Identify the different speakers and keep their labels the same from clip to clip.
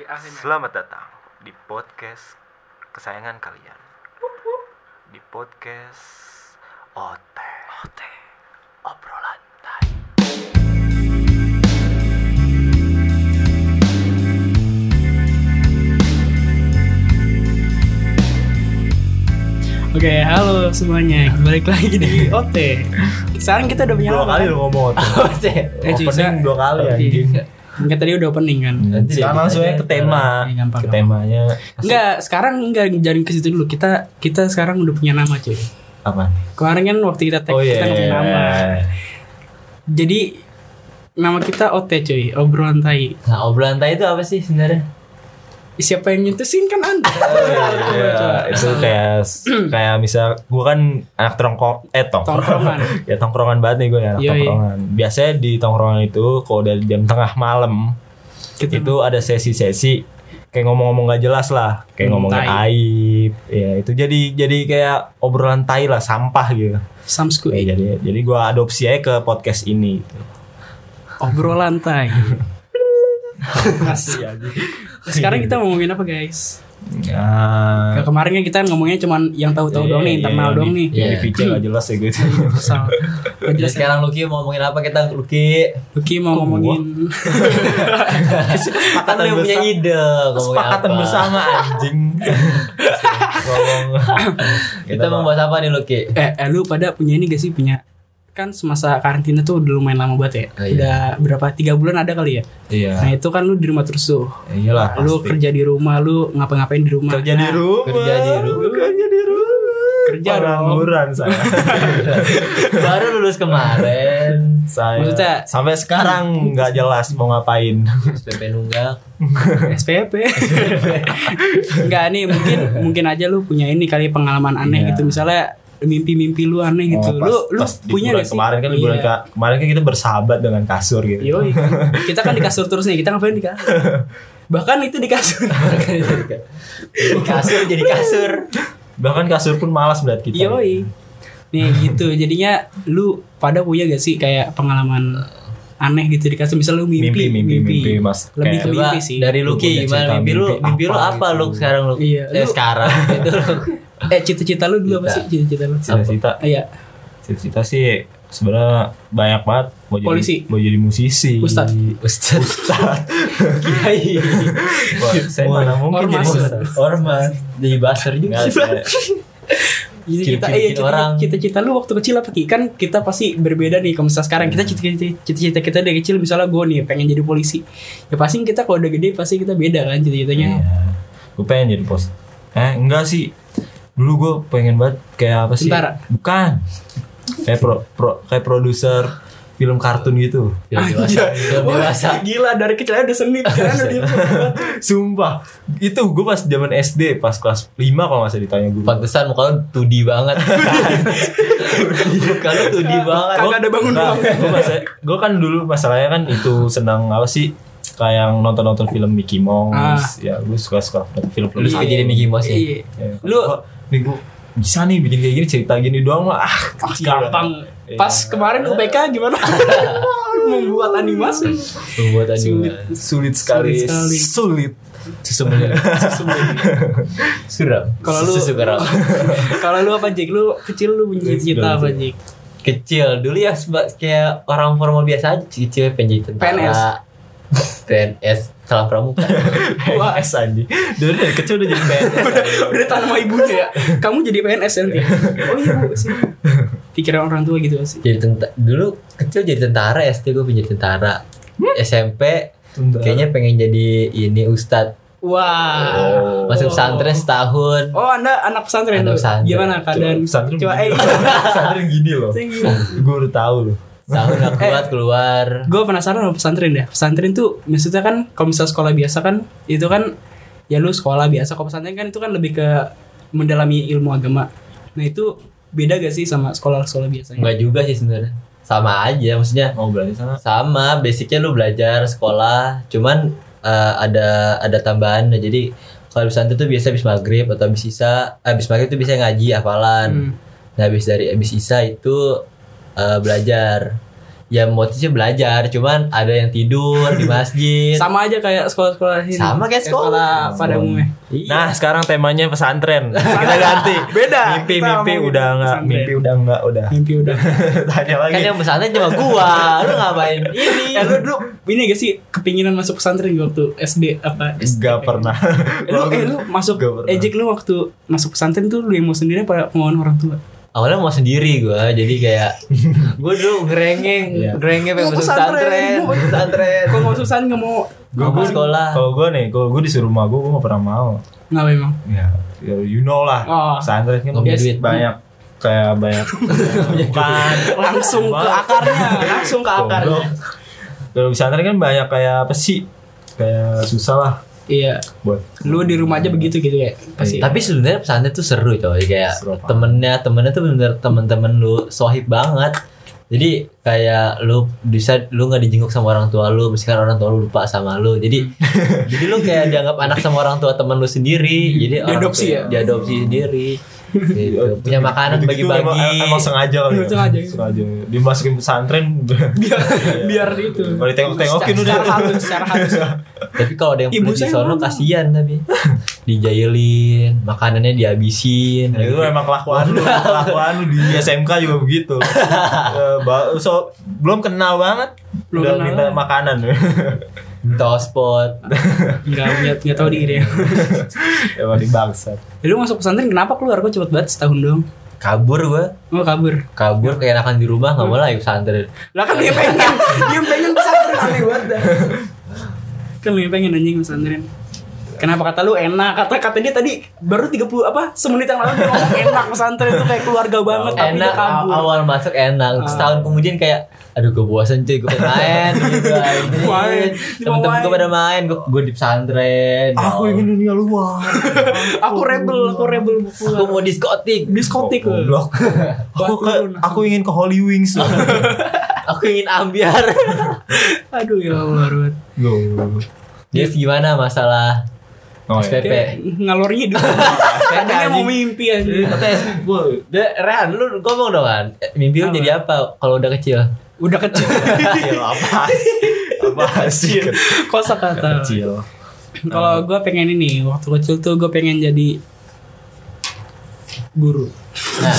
Speaker 1: akhirnya.
Speaker 2: Selamat datang di podcast kesayangan kalian. Di podcast Ote. Ote. Obrolan tai.
Speaker 1: Oke, halo semuanya. Balik lagi di OT. Sekarang kita udah punya
Speaker 3: dua
Speaker 1: apa?
Speaker 3: kali lu ngomong Ot.
Speaker 1: Eh, cuy, saya-
Speaker 3: opening dua kali
Speaker 1: Iya.
Speaker 3: anjing
Speaker 1: Enggak tadi udah opening kan?
Speaker 3: Nanti
Speaker 2: Anjing.
Speaker 3: langsung aja ke tema
Speaker 1: Iya, gampang,
Speaker 3: ke temanya
Speaker 1: Enggak, sekarang enggak jalan ke situ dulu. Kita kita sekarang udah punya nama, cuy.
Speaker 3: apa
Speaker 1: Kemarin kan waktu kita tag
Speaker 3: oh iya
Speaker 1: kita nggak punya nama. Jadi nama kita OT, cuy. Obrolan tai.
Speaker 4: Nah, obrolan tai itu apa sih sebenarnya?
Speaker 1: Siapa yang nyetusin kan Anda?
Speaker 3: Oh, iya. itu kayak kayak misal gue kan anak tongkrong eh tongkrong
Speaker 1: Tongkrongan. Iya,
Speaker 3: ya tongkrongan banget nih gue anak
Speaker 1: Yoi.
Speaker 3: tongkrongan biasanya di tongkrongan itu kalau dari jam tengah malam
Speaker 1: Kita-
Speaker 3: itu ada sesi-sesi kayak ngomong-ngomong gak jelas lah
Speaker 1: Hmm,
Speaker 3: kayak ngomongin
Speaker 1: tai.
Speaker 3: aib ya itu jadi jadi kayak obrolan tai lah sampah gitu
Speaker 1: Samsku. eh.
Speaker 3: Ya, jadi jadi gue adopsi aja ke podcast ini gitu.
Speaker 1: Obrolan tai. Mas.
Speaker 3: Iya,
Speaker 1: Sekarang kita mau ngomongin apa, guys? Nah,
Speaker 3: Ah,
Speaker 1: kemarin kan kita ngomongnya cuman yang tahu-tahu
Speaker 3: iya,
Speaker 1: doang nih,
Speaker 3: iya,
Speaker 1: internal
Speaker 3: iya,
Speaker 1: doang
Speaker 3: di-
Speaker 1: nih.
Speaker 3: iya, Di feature gak jelas ya gue itu.
Speaker 1: Kesal. Gak
Speaker 4: Jadi
Speaker 1: jelas ya.
Speaker 4: sekarang Lucky mau ngomongin apa kita Lucky?
Speaker 1: Lucky mau
Speaker 3: Kok
Speaker 1: ngomongin
Speaker 4: Kan
Speaker 3: Kesepakatan
Speaker 4: lu yang punya
Speaker 3: bersama.
Speaker 4: ide ngomongin
Speaker 3: Kesepakatan
Speaker 4: apa.
Speaker 3: bersama anjing. Ngomong.
Speaker 4: Kita mau bahas apa nih Lucky?
Speaker 1: eh, eh, lu pada punya ini gak sih punya kan semasa karantina tuh udah lumayan lama banget ya.
Speaker 4: Oh, iya.
Speaker 1: Udah berapa tiga bulan ada kali ya.
Speaker 3: Iya.
Speaker 1: Nah itu kan lu di rumah terus tuh.
Speaker 3: Iyalah.
Speaker 1: Lu
Speaker 3: pasti.
Speaker 1: kerja di rumah, lu ngapa-ngapain di rumah.
Speaker 3: kerja
Speaker 1: Nah,
Speaker 3: di rumah.
Speaker 4: kerja di rumah.
Speaker 3: Kerja di rumah.
Speaker 1: Kerja
Speaker 3: Orang
Speaker 1: dong.
Speaker 3: Ngangguran saya.
Speaker 4: Baru lulus kemarin.
Speaker 3: saya.
Speaker 1: Maksudnya-
Speaker 3: sampai sekarang nggak jelas mau ngapain.
Speaker 4: SPP nunggak.
Speaker 1: SPP. Enggak nih mungkin mungkin aja lu punya ini kali pengalaman aneh
Speaker 3: Iya.
Speaker 1: gitu misalnya mimpi-mimpi lu aneh gitu.
Speaker 3: Oh, pas-
Speaker 1: lu lu
Speaker 3: pas di
Speaker 1: punya
Speaker 3: bulan
Speaker 1: gak sih?
Speaker 3: kemarin kan liburan
Speaker 1: Iya.
Speaker 3: ka- kemarin kan kita bersahabat dengan kasur gitu.
Speaker 1: Yoi. Kita kan di kasur terus nih, kita ngapain di kasur? Bahkan itu di kasur.
Speaker 4: Jadi kasur jadi kasur.
Speaker 3: Bahkan kasur pun malas melihat kita. gitu.
Speaker 1: Yoi. Nih gitu, jadinya lu pada punya gak sih kayak pengalaman aneh gitu di kasur? Misal lu mimpi,
Speaker 3: Mimpi, mimpi, mimpi, Mas.
Speaker 1: Lebih
Speaker 3: Kayak
Speaker 1: ke
Speaker 4: Coba
Speaker 1: mimpi sih.
Speaker 4: dari
Speaker 3: Lu punya
Speaker 4: Lucky
Speaker 3: cerita
Speaker 4: gimana mimpi lu?
Speaker 3: mimpi
Speaker 4: Mimpi lu
Speaker 3: apa
Speaker 4: apa
Speaker 3: gitu?
Speaker 4: lu sekarang lu?
Speaker 1: Iya,
Speaker 4: Eh
Speaker 1: lu-
Speaker 4: sekarang itu lu.
Speaker 1: Eh cita-cita lu dulu apa sih? Cita-cita lu?
Speaker 3: Cita-cita
Speaker 1: Iya,
Speaker 3: cita-cita sih sebenarnya banyak banget mau jadi
Speaker 1: Polisi.
Speaker 3: mau jadi musisi
Speaker 1: Ustad.
Speaker 4: Ustaz. Kiai.
Speaker 3: Wah, saya mana mungkin jadi
Speaker 1: Ormas.
Speaker 3: ustad
Speaker 4: Ormas. Jadi baser juga.
Speaker 3: Nggak, saya-
Speaker 1: cita-cita, iya,
Speaker 4: Bikin- bikin
Speaker 1: cita-cita,
Speaker 4: orang.
Speaker 1: cita-cita lu waktu kecil apa Ki? Kan kita pasti berbeda nih kalau misalnya sekarang
Speaker 3: Hmm.
Speaker 1: kita cita-cita, cita-cita kita dari kecil misalnya gue nih pengen jadi polisi. Ya pasti kita kalau udah gede pasti kita beda kan cita-citanya.
Speaker 3: Iya. gue pengen jadi pos eh enggak sih dulu gue pengen banget kayak apa sih
Speaker 1: Tentara.
Speaker 3: bukan kayak pro, pro- kayak produser film kartun gitu
Speaker 4: Film dewasa. Film dewasa.
Speaker 1: Gila dari kecil aja udah seni kan udah dia-
Speaker 3: sumpah itu gue pas zaman SD pas kelas 5 kalau nggak salah ditanya guru
Speaker 4: Pantesan muka lu tudi banget. muka lu tudi banget.
Speaker 1: Iya. Kagak ada bangun
Speaker 3: Nah,
Speaker 1: doang.
Speaker 3: gue masa- gue kan dulu masalahnya kan itu senang apa sih kayak nonton-nonton film Mickey Mouse
Speaker 1: Ah.
Speaker 3: ya gue suka-suka nonton film-film
Speaker 4: Lu suka jadi Mickey Mouse ya?
Speaker 1: Iya.
Speaker 3: Ya,
Speaker 1: Lu
Speaker 3: gua- nih gue bisa nih bikin kayak gini cerita gini doang lah ah,
Speaker 1: ah,
Speaker 3: kecil lah.
Speaker 1: gampang.
Speaker 3: Iya.
Speaker 1: Pas kemarin UPK gimana? Membuat animasi.
Speaker 4: Membuat
Speaker 1: Sulit.
Speaker 4: animasi.
Speaker 3: sulit sekali
Speaker 1: Sulit sekali.
Speaker 3: sulit
Speaker 4: Sesungguhnya. Suram.
Speaker 1: Kalau lu-
Speaker 4: Sesuram.
Speaker 1: Kalau lu apa Jik? Lu kecil lu punya cita apa Jik?
Speaker 4: Kecil dulu ya seba- kayak orang formal biasa aja kecil penjahit tentara. PNS salah pramuka.
Speaker 3: PNS anjing dari dari kecil udah jadi PNS
Speaker 1: Udah tanam sama ibunya ya. Kamu jadi PNS nanti. Oh iya Bu sih. Pikiran orang tua gitu sih.
Speaker 4: Jadi tentara dulu kecil jadi tentara SD gue penjahit tentara. SMP
Speaker 3: Tentara.
Speaker 4: kayaknya pengen jadi ini ustad
Speaker 1: Wah.
Speaker 4: masuk pesantren setahun
Speaker 1: Oh, Anda anak pesantren.
Speaker 4: Oh. Anak
Speaker 1: tuh.
Speaker 4: pesantren.
Speaker 1: Gimana keadaan?
Speaker 3: pesantren
Speaker 1: Coba eh
Speaker 3: gini loh. pesantren gini loh gue udah tahu loh
Speaker 4: setahun gak kuat keluar
Speaker 1: gue penasaran sama pesantren ya pesantren tuh maksudnya kan kalau misal sekolah biasa kan itu kan ya lu sekolah biasa kalau pesantren kan itu kan lebih ke mendalami ilmu agama nah itu beda gak sih sama sekolah-sekolah biasanya
Speaker 4: Enggak juga sih sebenarnya. Sama aja maksudnya.
Speaker 3: mau berani sana
Speaker 4: Sama, basicnya lu belajar sekolah, cuman eh, ada ada tambahan. Nah, Jadi kalau di pesantren tuh biasa habis maghrib atau habis isa, habis maghrib tuh bisa ngaji hafalan.
Speaker 1: Hmm.
Speaker 4: Nah, habis dari habis isa itu eh, belajar. ya motivasinya belajar cuman ada yang tidur di masjid
Speaker 1: Sama aja kayak sekolah-sekolah ini.
Speaker 4: Iya. Sama kayak sekolah.
Speaker 1: pada umumnya.
Speaker 4: iya.
Speaker 3: Nah, sekarang temanya pesantren. Kita ganti.
Speaker 1: Beda. Kita
Speaker 3: Mimpi-mimpi
Speaker 1: ngomongin
Speaker 3: udah enggak,
Speaker 1: pesantren.
Speaker 3: mimpi udah enggak, udah.
Speaker 1: Mimpi udah.
Speaker 3: Tanya lagi.
Speaker 4: kan yang pesantren cuma gua lu ngapain ini
Speaker 1: eh lu dulu ini gak sih kepinginan masuk pesantren gak waktu SD apa?
Speaker 3: Enggak pernah.
Speaker 1: Eh, lu eh lu masuk
Speaker 3: Nggak pernah.
Speaker 1: ejek lu waktu masuk pesantren tuh lu yang mau sendiri apa kemauan orang tua?
Speaker 4: awalnya mau sendiri gua jadi kayak gua dulu ngerengeng ngerengeng pengen
Speaker 1: Mau
Speaker 4: Iya, masuk
Speaker 1: pesantren,
Speaker 4: pesantren
Speaker 1: mau
Speaker 4: pesantren
Speaker 1: Kok mau susah nggak mau
Speaker 4: gua mau sekolah
Speaker 3: Kalau gue nih, kalau gue disuruh sama gue, gue gak pernah mau.
Speaker 1: nggak memang?
Speaker 3: Ya, ya you know lah.
Speaker 1: Oh.
Speaker 3: Pesantren kan
Speaker 4: Nggak punya
Speaker 3: bias-
Speaker 4: duit.
Speaker 3: banyak kayak banyak bukan
Speaker 1: Langsung ke akarnya, langsung ke akar.
Speaker 3: Goblok. Kalau pesantren kan banyak kayak apa sih? Kayak susah lah
Speaker 1: Iya.
Speaker 3: buat
Speaker 1: Lu di rumah aja begitu gitu ya. Pasti.
Speaker 4: tapi sebenarnya pesantren tuh seru coy kayak
Speaker 3: Seru apa?
Speaker 4: temennya temennya tuh bener temen-temen lu sohib banget jadi kayak lu bisa lu nggak dijenguk sama orang tua lu misalkan orang tua lu lupa sama lu jadi jadi lu kayak dianggap anak sama orang tua temen lu sendiri jadi orang
Speaker 1: Diadopsi
Speaker 4: tua-
Speaker 1: ya?
Speaker 4: diadopsi sendiri gitu.
Speaker 3: Eh,
Speaker 4: punya makanan
Speaker 3: Gitu-gitu
Speaker 4: bagi-bagi
Speaker 3: gitu emang, emang sengaja kali ya.
Speaker 1: Sengaja.
Speaker 3: sengaja dimasukin pesantren
Speaker 1: biar biar itu.
Speaker 3: kalau ditengok-tengokin udah
Speaker 1: Secara halus, secara halus.
Speaker 4: tapi kalau ada yang
Speaker 1: Ibu
Speaker 4: perlu di
Speaker 1: saya
Speaker 4: sono
Speaker 1: ngomong.
Speaker 4: kasihan tapi dijailin makanannya
Speaker 1: Iya,
Speaker 4: dihabisin
Speaker 3: Ya, itu emang kelakuan lu, kelakuan lu di SMK juga begitu. Eh, ba- so, belum kenal banget,
Speaker 1: Belum
Speaker 3: udah
Speaker 1: kenal
Speaker 3: minta
Speaker 1: banget.
Speaker 3: makanan.
Speaker 4: tospot
Speaker 1: Enggak punya enggak tahu diri ya.
Speaker 3: Emang di bangsat.
Speaker 1: Ya, Lu masuk pesantren kenapa keluar kok cepet banget setahun dong?
Speaker 4: kabur gua
Speaker 1: Mau kabur.
Speaker 4: kabur keenakan di rumah nggak mau lagi pesantren
Speaker 1: Lah kan dia pengen, dia pengen pesantren aneh banget. dah. Kan dia pengen anjing pesantren. Kenapa kata lu enak? Kata kata dia tadi baru 30 apa semenit yang lalu dia ngomong enak pesantren itu kayak keluarga banget tapi dia
Speaker 4: enak aw-
Speaker 1: kabur.
Speaker 4: awal masuk enak setahun kemudian kayak aduh gue bosen cuy gue pengen main gitu
Speaker 1: Main.
Speaker 4: temen-temen gue pada main gue gue di pesantren
Speaker 3: Aku
Speaker 4: Ya
Speaker 3: ingin dunia luar.
Speaker 1: Aku rebel, aku rebel buku.
Speaker 4: Allah. aku mau diskotik
Speaker 1: diskotik lu.
Speaker 3: Oh, Goblok. aku ke, aku ingin ke Holy Wings.
Speaker 4: aku ingin ambiar
Speaker 1: Aduh ya Allah, Ruth.
Speaker 3: Goblok.
Speaker 4: dia gimana masalah
Speaker 3: Oh,
Speaker 4: SPP
Speaker 1: Kayak ngalor ngidul. Tadinya mau mimpi aja.
Speaker 3: Gue
Speaker 4: Deh, Rehan, lu ngomong dong kan Mimpi lu
Speaker 1: Apa?
Speaker 4: jadi apa kalau udah kecil?
Speaker 1: Udah kecil.
Speaker 3: kecil apa sih? Apa sih?
Speaker 1: Kosa kata.
Speaker 3: Kecil.
Speaker 1: Kalau gue pengen ini waktu kecil tuh gue pengen jadi guru.
Speaker 4: Nah,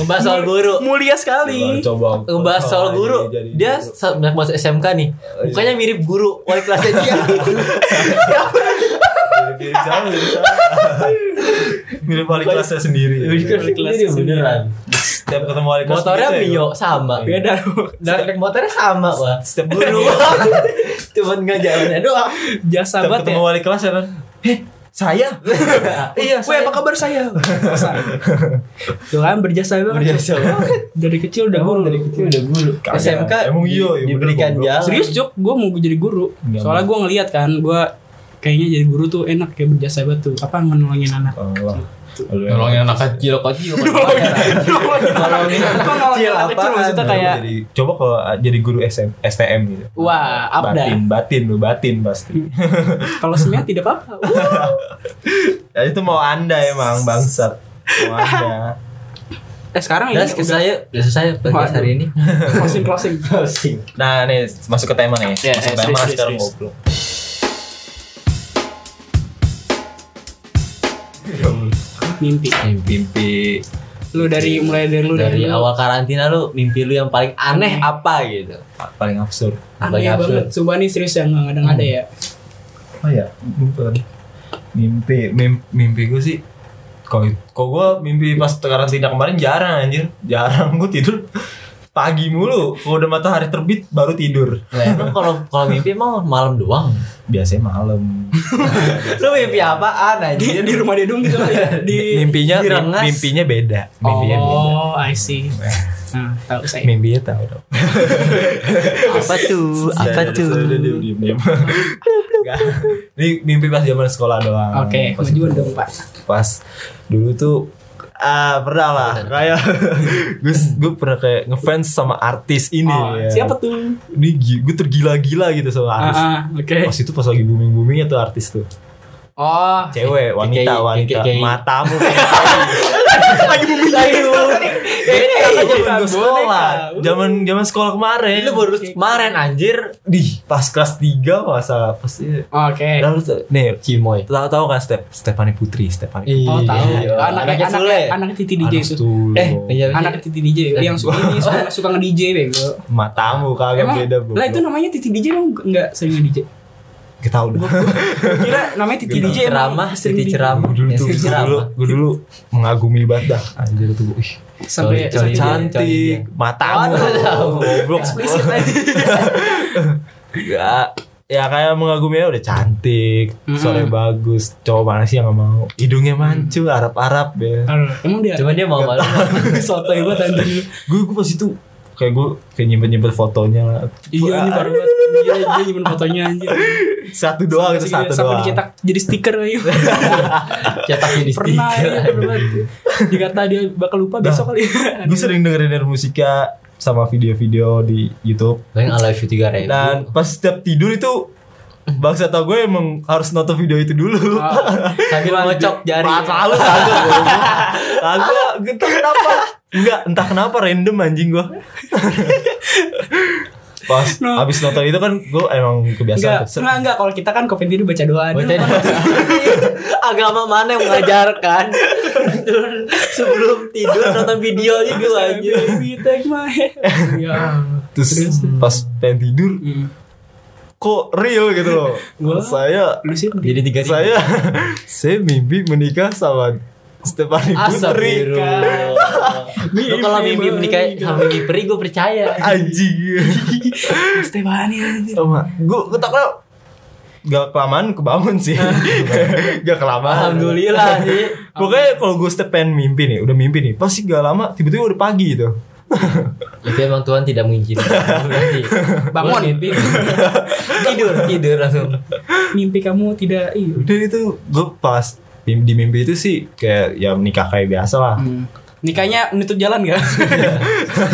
Speaker 4: ngebahas soal guru
Speaker 1: Mulia sekali.
Speaker 3: Coba. Oh, iya,
Speaker 4: Ngebahas soal guru Dia sa- masuk SMK nih Mukanya mirip guru Wali kelasnya dia
Speaker 3: Mirip sama, mirip sama. Mirip wali kelasnya sendiri.
Speaker 1: Wali kelas
Speaker 4: Jadi beneran.
Speaker 3: Setiap ketemu wali kelas
Speaker 4: Motornya
Speaker 3: gitu ya,
Speaker 4: Mio
Speaker 3: gua-
Speaker 4: sama.
Speaker 1: Beda loh.
Speaker 4: Dan naik motornya sama, Pak.
Speaker 3: Setiap
Speaker 4: Guru. Cuman enggak jalannya doang.
Speaker 1: Jasa
Speaker 3: setiap
Speaker 1: banget ya.
Speaker 3: ketemu wali kelas ya kan. Heh, saya.
Speaker 4: iya,
Speaker 1: Weh apa kabar saya? Kosa. Tuh kan berjasa banget.
Speaker 3: Biasa.
Speaker 1: Dari kecil udah guru.
Speaker 4: udah guru. SMK
Speaker 3: Emang iya,
Speaker 4: di-
Speaker 3: iya bener,
Speaker 4: diberikan
Speaker 3: goblok.
Speaker 4: jalan.
Speaker 1: Serius Jok, gue mau jadi guru.
Speaker 3: Enggak
Speaker 1: Soalnya gue ngeliat kan, gue kayaknya jadi guru tuh enak kayak berjasa banget tuh. Apa ngenolongin anak?
Speaker 3: Allah.
Speaker 1: Gitu.
Speaker 4: Nolongin anak kecil kok kecil.
Speaker 1: Oh, iya.
Speaker 4: Nolongin Oh, iya. anak
Speaker 1: Kok ngenolongin anak
Speaker 4: kecil
Speaker 1: kecil
Speaker 4: apaan?
Speaker 1: maksudnya kayak
Speaker 3: jadi, coba kalau uh, jadi guru SM, STM gitu.
Speaker 1: Wah, up dah.
Speaker 3: batin, batin lu batin pasti.
Speaker 1: kalau semuanya tidak apa-apa. Uh.
Speaker 3: Ya, itu mau Anda emang bangsat. Mau Anda.
Speaker 1: Eh sekarang ini
Speaker 4: Das ke saya, das ke saya
Speaker 1: Waduh.
Speaker 4: podcast hari ini.
Speaker 1: closing closing.
Speaker 3: Nah, nih masuk ke tema nih.
Speaker 1: Ya,
Speaker 3: masuk
Speaker 1: eh,
Speaker 3: ke tema
Speaker 1: serius,
Speaker 3: sekarang
Speaker 1: serius.
Speaker 3: goblok.
Speaker 1: Mimpi.
Speaker 3: Mimpi
Speaker 1: Lu dari mulai dari lu
Speaker 4: Dari
Speaker 1: lu.
Speaker 4: awal karantina lu mimpi lu yang paling aneh apa gitu?
Speaker 3: paling absurd.
Speaker 1: aneh
Speaker 4: Paling
Speaker 1: banget. Coba nih serius yang nggak ada nggak ada ya.
Speaker 3: Oh ya, lupa tadi. Mimpi, mimpi, mimpi gue sih. Kalau kok gue mimpi pas karantina kemarin jarang anjir, jarang gue tidur pagi mulu. Kalau udah matahari terbit baru tidur.
Speaker 4: Lah, emang kalau kalau mimpi emang malam doang.
Speaker 3: Biasanya malam.
Speaker 4: Lu mimpi apaan
Speaker 1: Di,
Speaker 4: anjir?
Speaker 1: di rumah dia dong gitu kali ya. Di
Speaker 3: mimpinya
Speaker 4: di rengas.
Speaker 3: mimpinya beda. Mimpinya beda.
Speaker 1: Oh, I see. Nah, tahu saya.
Speaker 3: Mimpinya tahu dong.
Speaker 4: Apa tuh? Apa
Speaker 3: Udah, udah,
Speaker 4: tuh?
Speaker 3: udah, diem, diem, diem. Enggak. Ini mimpi pas zaman sekolah doang.
Speaker 1: Oke,
Speaker 3: Pas
Speaker 1: majuan dong, Pak.
Speaker 3: pas dulu tuh ah pernah lah kayak gue gue pernah kayak ngefans sama artis ini
Speaker 1: Oh,
Speaker 3: ya.
Speaker 1: siapa tuh?
Speaker 3: ini gue tergila-gila gitu sama
Speaker 1: Ah,
Speaker 3: artis
Speaker 1: ah, oke.
Speaker 3: pas itu pas lagi booming boomingnya tuh artis tuh
Speaker 1: Oh,
Speaker 3: Cewek, wanita,
Speaker 4: Kayak-
Speaker 3: wanita.
Speaker 4: kayak- kayak-
Speaker 3: Matamu lagi bumi lagi. Kayaknya kan zaman Iya, sekolah. Zaman zaman sekolah kemarin.
Speaker 4: Lu baru kemarin anjir.
Speaker 3: di pas kelas 3 masa pasti.
Speaker 1: oke.
Speaker 4: Eh.
Speaker 3: Lalu tuh, nih
Speaker 4: Cimoy.
Speaker 3: tahu tahu kan Step Stefani Putri, Stefani.
Speaker 1: Oh, tahu.
Speaker 4: Iya.
Speaker 1: Anak
Speaker 4: Anaknya
Speaker 1: anak
Speaker 4: Sule.
Speaker 1: anak Titi DJ itu.
Speaker 4: Eh, iya
Speaker 1: Anak
Speaker 4: anak
Speaker 1: Titi DJ yang suka ini suka, suka nge-DJ bego.
Speaker 3: matamu kagak
Speaker 1: Emang-
Speaker 3: beda, Bu.
Speaker 1: Lah itu namanya Titi DJ emang enggak sering nge-DJ.
Speaker 3: kita udah.
Speaker 1: Gua Kira namanya Titi
Speaker 4: Titi
Speaker 1: DJ emang
Speaker 4: ceramah,
Speaker 1: sering
Speaker 4: Titi
Speaker 1: di-
Speaker 4: ceramah.
Speaker 3: Gue dulu
Speaker 4: Ya,
Speaker 3: tuh,
Speaker 4: sering
Speaker 3: gue dulu,
Speaker 4: ceramah.
Speaker 3: gue dulu mengagumi banget dah Anjir tuh ih,
Speaker 1: sampai
Speaker 4: Sorry, sorry.
Speaker 1: sampai
Speaker 3: Cantik, matamu Goblok
Speaker 1: eksplisit lagi.
Speaker 3: Ya, ya kayak mengagumi aja udah cantik
Speaker 1: Mm-mm.
Speaker 3: Suaranya bagus Cowok mana sih yang gak mau Hidungnya mancung, Arab-Arab ya
Speaker 1: Aduh, Emang dia
Speaker 4: Cuma dia mau malu.
Speaker 1: sotoy banget anjing.
Speaker 3: Gue gue pas itu Kayak gue kayak nyimpen-nyimpen fotonya lah
Speaker 1: Iya ini baru banget. Iya dia nyimpen fotonya anjir.
Speaker 3: Satu doang itu
Speaker 1: Sampai-
Speaker 3: satu
Speaker 1: sampai
Speaker 3: doang
Speaker 1: dicetak jadi stiker lagi.
Speaker 4: Cetak jadi
Speaker 1: Pernah
Speaker 4: stiker.
Speaker 1: ya bener banget. Dikata dia bakal lupa
Speaker 3: Dah.
Speaker 1: besok kali.
Speaker 3: Gue sering dengerin dari musika Sama video-video di Youtube
Speaker 4: Yang I love you 3000.
Speaker 1: gitu.
Speaker 3: Dan pas setiap tidur itu
Speaker 1: Mm.
Speaker 3: Bangsa tau gue emang harus nonton video itu dulu
Speaker 1: Ah.
Speaker 4: sambil ngocok jari.
Speaker 3: Maaf malu kagak goblok. Kagak gitu kenapa Enggak entah kenapa random anjing gua Pas
Speaker 1: No.
Speaker 3: abis nonton itu kan gue emang kebiasaan
Speaker 1: Enggak,
Speaker 3: tuh.
Speaker 1: enggak, enggak. Kalau kita kan kopi tidur baca doa. Dia
Speaker 4: Baca
Speaker 1: lupa.
Speaker 4: agama mana yang mengajarkan sebelum tidur nonton video itu aja.
Speaker 1: Baby, take my hand. Ya.
Speaker 3: Terus pas pengen tidur
Speaker 1: Hmm.
Speaker 3: kok real gitu loh
Speaker 1: Wah.
Speaker 3: Saya
Speaker 1: Lu sih
Speaker 4: Jadi tiga
Speaker 3: saya saya mimpi menikah sama Stefani
Speaker 4: asap
Speaker 3: Putri
Speaker 4: biru. Lo kalau mimpi menikah sama mimpi peri gue percaya.
Speaker 3: anjing
Speaker 1: Stefani anjir.
Speaker 3: sama gue ketaknya gak kelamaan kebangun sih gak kelamaan
Speaker 4: Alhamdulillah sih.
Speaker 3: Pokoknya kalau gue step pengen mimpi nih, udah mimpi nih, pasti gak lama tiba-tiba udah pagi gitu.
Speaker 4: Itu emang Tuhan tidak mengizinkan. Nanti
Speaker 1: Bangun.
Speaker 4: gua mimpi. tidur, tidur langsung.
Speaker 1: Mimpi kamu tidak iya.
Speaker 3: Udah itu gue pas di, di mimpi itu sih kayak ya menikah kayak biasa lah.
Speaker 1: Hmm. Nikahnya menutup jalan gak?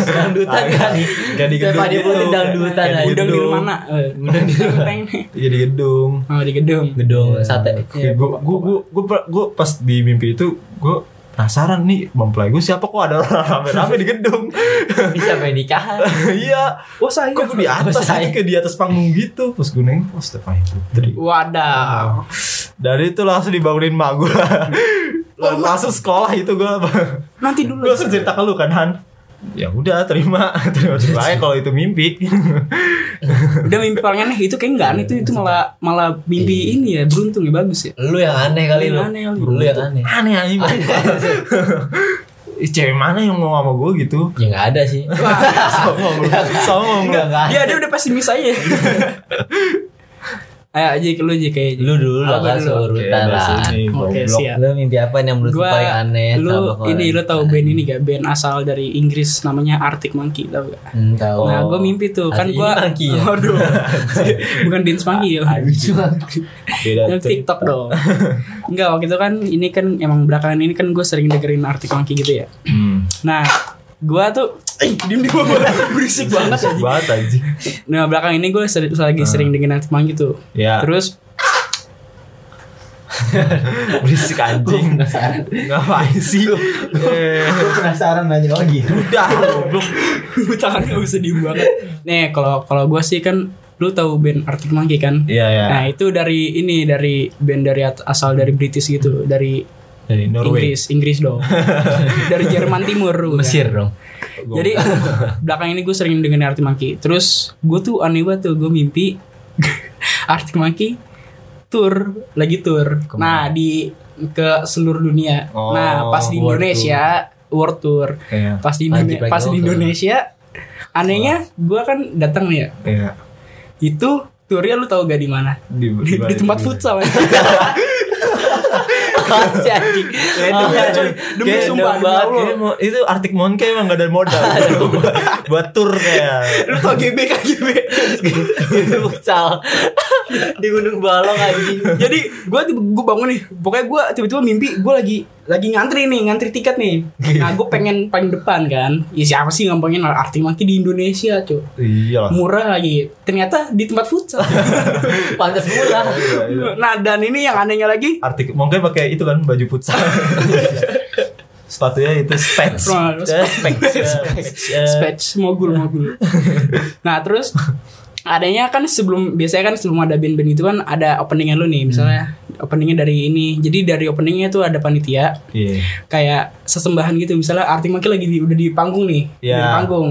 Speaker 4: Dangdutan kan nih.
Speaker 3: Kayak di gedung
Speaker 4: Stefani
Speaker 3: gitu.
Speaker 4: Putri dangdutan
Speaker 3: Kayak
Speaker 4: aja.
Speaker 1: Udang di
Speaker 3: gedung.
Speaker 1: rumah mana? Eh,
Speaker 4: Udang di rumah.
Speaker 1: Teng.
Speaker 3: Iya di gedung.
Speaker 1: Oh di gedung.
Speaker 4: Gedung sate.
Speaker 1: Iya,
Speaker 3: Gue gue gue gue pas di mimpi itu gue penasaran nih mempelai gue siapa kok ada orang rame-rame di gedung.
Speaker 4: Ini siapa yang nikahan?
Speaker 3: Iya.
Speaker 1: Wah saya.
Speaker 3: Kok gue di atas
Speaker 4: Saya.
Speaker 3: kayak di atas panggung gitu. Pas gue nengok oh, Stefani Putri.
Speaker 1: Wadah.
Speaker 3: Dari itu langsung dibangunin mak gue. langsung sekolah itu gue.
Speaker 1: Nanti dulu.
Speaker 3: Gue langsung cerita ke lu kan Han Ya udah terima Terima terima aja kalau itu mimpi
Speaker 1: Udah mimpi paling aneh itu kayak enggak aneh itu itu malah malah mimpi ini ya beruntung ya bagus ya.
Speaker 4: Lu yang aneh kali lu.
Speaker 1: Aneh kali.
Speaker 4: Lu yang aneh.
Speaker 3: Aneh aneh Ih, Cewek mana yang mau sama gue gitu
Speaker 4: Ya nggak ada sih. Iya.
Speaker 3: Sama lu Sama lu
Speaker 4: Enggak enggak.
Speaker 1: Iya, Dia dia udah pesimis aja. Ayo aja ke lu aja kayak
Speaker 4: Lu dulu lah
Speaker 1: Apa
Speaker 4: kan
Speaker 1: dulu?
Speaker 4: seurutan lah.
Speaker 1: Oke, siap.
Speaker 4: Lu mimpi apa yang menurut lu
Speaker 1: Gua-
Speaker 4: paling aneh?
Speaker 1: lu
Speaker 4: Sama
Speaker 1: ini lu
Speaker 4: orang?
Speaker 1: tahu band ini gak band asal dari Inggris namanya Arctic Monkey tau gak?
Speaker 4: Hmm, tahu.
Speaker 1: Nah gue mimpi tuh kan
Speaker 4: Arctic
Speaker 1: gue
Speaker 4: Monkey ya?
Speaker 1: Waduh Bukan Dance Monkey ya
Speaker 3: Beda
Speaker 1: Yang
Speaker 3: tuh.
Speaker 1: TikTok dong Enggak waktu itu kan ini kan emang belakangan ini kan gue sering dengerin Arctic Monkey gitu ya
Speaker 3: Hmm.
Speaker 1: Nah gue tuh Eh diem diem Berisik banget
Speaker 3: Banget banget anjing
Speaker 1: Nah belakang ini gue seri- lagi sering dengerin Arctic Monkey tuh
Speaker 3: Ya
Speaker 1: Terus
Speaker 3: berisik anjing Ngapain sih Eh,
Speaker 4: penasaran nanya lagi.
Speaker 3: Udah goblok
Speaker 1: tangan gue sedih banget Nih kalau kalau gue sih kan Lu tahu band Arctic Monkey kan?
Speaker 3: Iya ya
Speaker 1: Nah itu dari ini dari band dari at- asal dari British gitu dari
Speaker 3: Dari Norway
Speaker 1: Inggris Inggris dong dari Jerman Timur ya. bukan?
Speaker 4: Mesir dong.
Speaker 1: Jadi belakang ini gue sering dengerin Arctic Monkey. Terus gue tuh aneh banget tuh gue mimpi Arctic Monkey tour lagi tour. Nah di ke seluruh dunia.
Speaker 3: Oh,
Speaker 1: nah pas di
Speaker 4: world
Speaker 1: Indonesia world tour.
Speaker 3: Iya
Speaker 1: Pas di
Speaker 4: Lagi
Speaker 1: Indonesia,
Speaker 4: lagi
Speaker 1: pas di
Speaker 4: world tour.
Speaker 1: Indonesia anehnya gue kan datang nih ya.
Speaker 3: Iya
Speaker 1: Itu tournya lu tau gak di mana?
Speaker 3: di,
Speaker 1: Di, di tempat futsal. ya?
Speaker 4: Si anjing.
Speaker 3: Ya, itu
Speaker 1: Ah,
Speaker 3: ya,
Speaker 1: cuy.
Speaker 3: cuy.
Speaker 1: Demi
Speaker 3: Kayak
Speaker 1: sumpah,
Speaker 3: dong banget.
Speaker 1: demi Allah.
Speaker 3: Kayaknya mau- Itu Arctic Monkey emang gak ada modal buat tour kayak
Speaker 4: Lu tau GB kan GB GB futsal Di Gunung Balong anjing
Speaker 1: Jadi gue gue bangun nih, pokoknya gue tiba-tiba mimpi gue lagi lagi ngantri nih, ngantri tiket nih. Nah gue pengen paling depan kan. Ya siapa sih ngampangin arti maki di Indonesia cuy.
Speaker 3: iya lah
Speaker 1: Murah lagi. Ternyata di tempat futsal.
Speaker 4: Pantes murah
Speaker 3: Iya,
Speaker 1: nah dan ini yang anehnya lagi,
Speaker 3: artik mungkin pakai itu kan baju futsal sepatunya itu spats
Speaker 1: Wah, lu
Speaker 3: Eh, eh,
Speaker 1: Spatch mogul mogul. nah terus adanya kan sebelum biasanya kan sebelum ada band-band itu kan ada openingnya lu nih misalnya openingnya dari ini jadi dari openingnya tuh ada panitia
Speaker 3: iya
Speaker 1: kayak sesembahan gitu misalnya Arctic Monkey lagi di, udah di panggung nih
Speaker 3: Iya.
Speaker 1: udah di panggung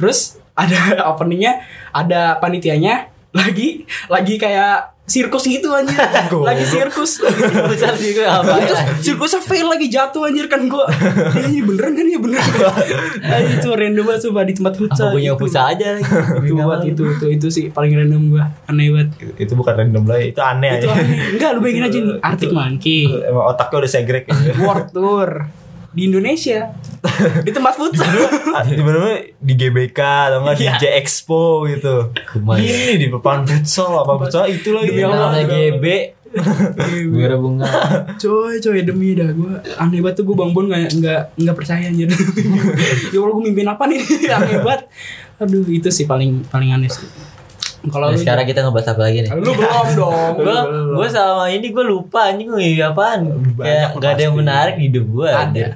Speaker 1: terus ada openingnya ada panitianya lagi lagi kayak sirkus gitu anjir lagi sirkus
Speaker 4: Besar sih gue apa ya?
Speaker 1: Terus sirkusnya fail lagi jatuh anjir kan gua ini beneran kan ya beneran Nah, itu random banget coba di tempat futsal
Speaker 4: Aku punya
Speaker 1: gitu.
Speaker 4: futsal aja lagi
Speaker 1: itu buat itu itu itu sih paling random gua aneh banget
Speaker 3: Itu- itu bukan random lah itu aneh
Speaker 1: itu
Speaker 3: aja
Speaker 1: aneh. enggak lu bayangin aja nih Arctic Monkey
Speaker 3: emang otaknya udah segrek ya.
Speaker 1: World Tour di Indonesia di tempat futsal
Speaker 3: Ah, Tiba-tiba di GBK atau enggak di
Speaker 1: Iya.
Speaker 3: J Expo gitu.
Speaker 4: Kumain.
Speaker 3: Ini di depan futsal apa futsal ya. itu lagi.
Speaker 1: Demi Allah.
Speaker 4: Namanya GB Wira bunga
Speaker 1: coy coy demi dah gue aneh banget tuh gue bang bon nggak nggak nggak percaya anjir ya allah gue mimpin apa nih aneh banget aduh itu sih paling paling aneh sih kalau lu
Speaker 4: Nah, Sekarang kita ngebahas apa lagi nih
Speaker 1: lu ya. belum dong
Speaker 4: Gue gue selama ini gue lupa anjing gue mimpi apaan Kayak
Speaker 3: Banyak
Speaker 4: gak ada yang
Speaker 3: pasti.
Speaker 4: menarik di hidup gue
Speaker 1: ada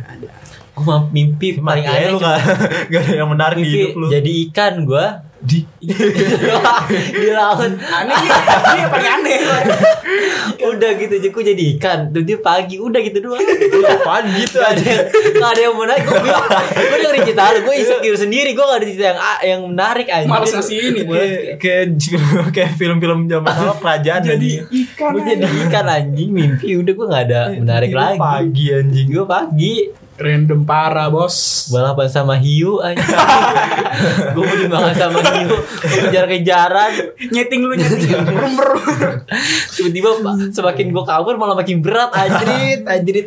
Speaker 4: Gue mah mimpi
Speaker 3: Paling
Speaker 4: paling aneh
Speaker 3: Iya, lu
Speaker 4: cuma
Speaker 3: nggak nggak ada yang menarik di
Speaker 4: mimpi
Speaker 3: hidup lu.
Speaker 4: Jadi ikan gue
Speaker 3: Di
Speaker 4: di laut
Speaker 1: aneh nih, ini yang paling aneh
Speaker 4: udah gitu aja gue jadi ikan tuh dia pagi udah gitu doang
Speaker 3: apaan gitu
Speaker 4: Gak ada
Speaker 3: aja.
Speaker 4: yang gak ada yang menarik gue gue dengerin cerita lu gue insecure sendiri gue gak ada cerita yang ah, yang menarik aja
Speaker 1: Males ngasih ini.
Speaker 3: Kayak kayak kayak film-film zaman dulu kerajaan
Speaker 1: jadi
Speaker 3: anjing.
Speaker 1: ikan
Speaker 4: gue jadi ikan anjing mimpi udah gue gak
Speaker 3: eh,
Speaker 4: ada menarik
Speaker 3: Tiba-tiba
Speaker 4: lagi
Speaker 3: Pagi anjing.
Speaker 4: gue pagi
Speaker 1: random parah bos
Speaker 4: balapan sama hiu anjing gue mau dimakan sama hiu gue kejar-kejaran
Speaker 1: nyeting lu nyeting rumber
Speaker 4: tiba-tiba semakin gue kabur malah makin berat anjrit anjrit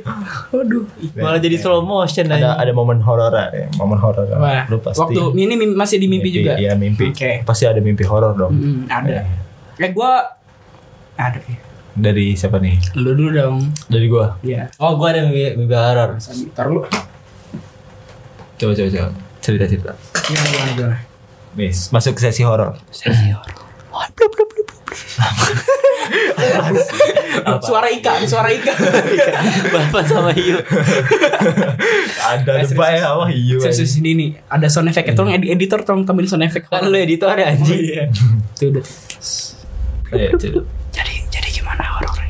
Speaker 1: aduh
Speaker 4: malah jadi slow motion
Speaker 3: Ada
Speaker 4: anjing
Speaker 3: ada momen horor ya, momen horor.
Speaker 1: Wah,
Speaker 3: Lu pasti.
Speaker 1: waktu ini mim- masih di mimpi juga
Speaker 3: Iya, mimpi.
Speaker 1: Oke.
Speaker 3: Pasti ada mimpi horor dong.
Speaker 1: Mm, ada eh gue ada ya.
Speaker 3: Dari siapa nih?
Speaker 1: lu dulu dong
Speaker 3: Dari gua.
Speaker 1: ya
Speaker 4: oh gue ada mimpi, mimpi horor
Speaker 1: Ntar lu
Speaker 3: Coba coba coba. Cerita cerita.
Speaker 1: Gimana gimana gimana
Speaker 3: Nih, masuk ke sesi horor.
Speaker 1: Suara ikan Suara ikan
Speaker 4: Bapak sama hiu
Speaker 3: Ada debat ya, wah iya. anjing.
Speaker 1: Serius ini nih Ada sound effect ya. Tolong edi- editor Tolong tambahin sound effect
Speaker 4: Kan lu editor ya anjing
Speaker 1: Tuh udah
Speaker 3: Ayo, coba.
Speaker 1: Jadi jadi gimana horornya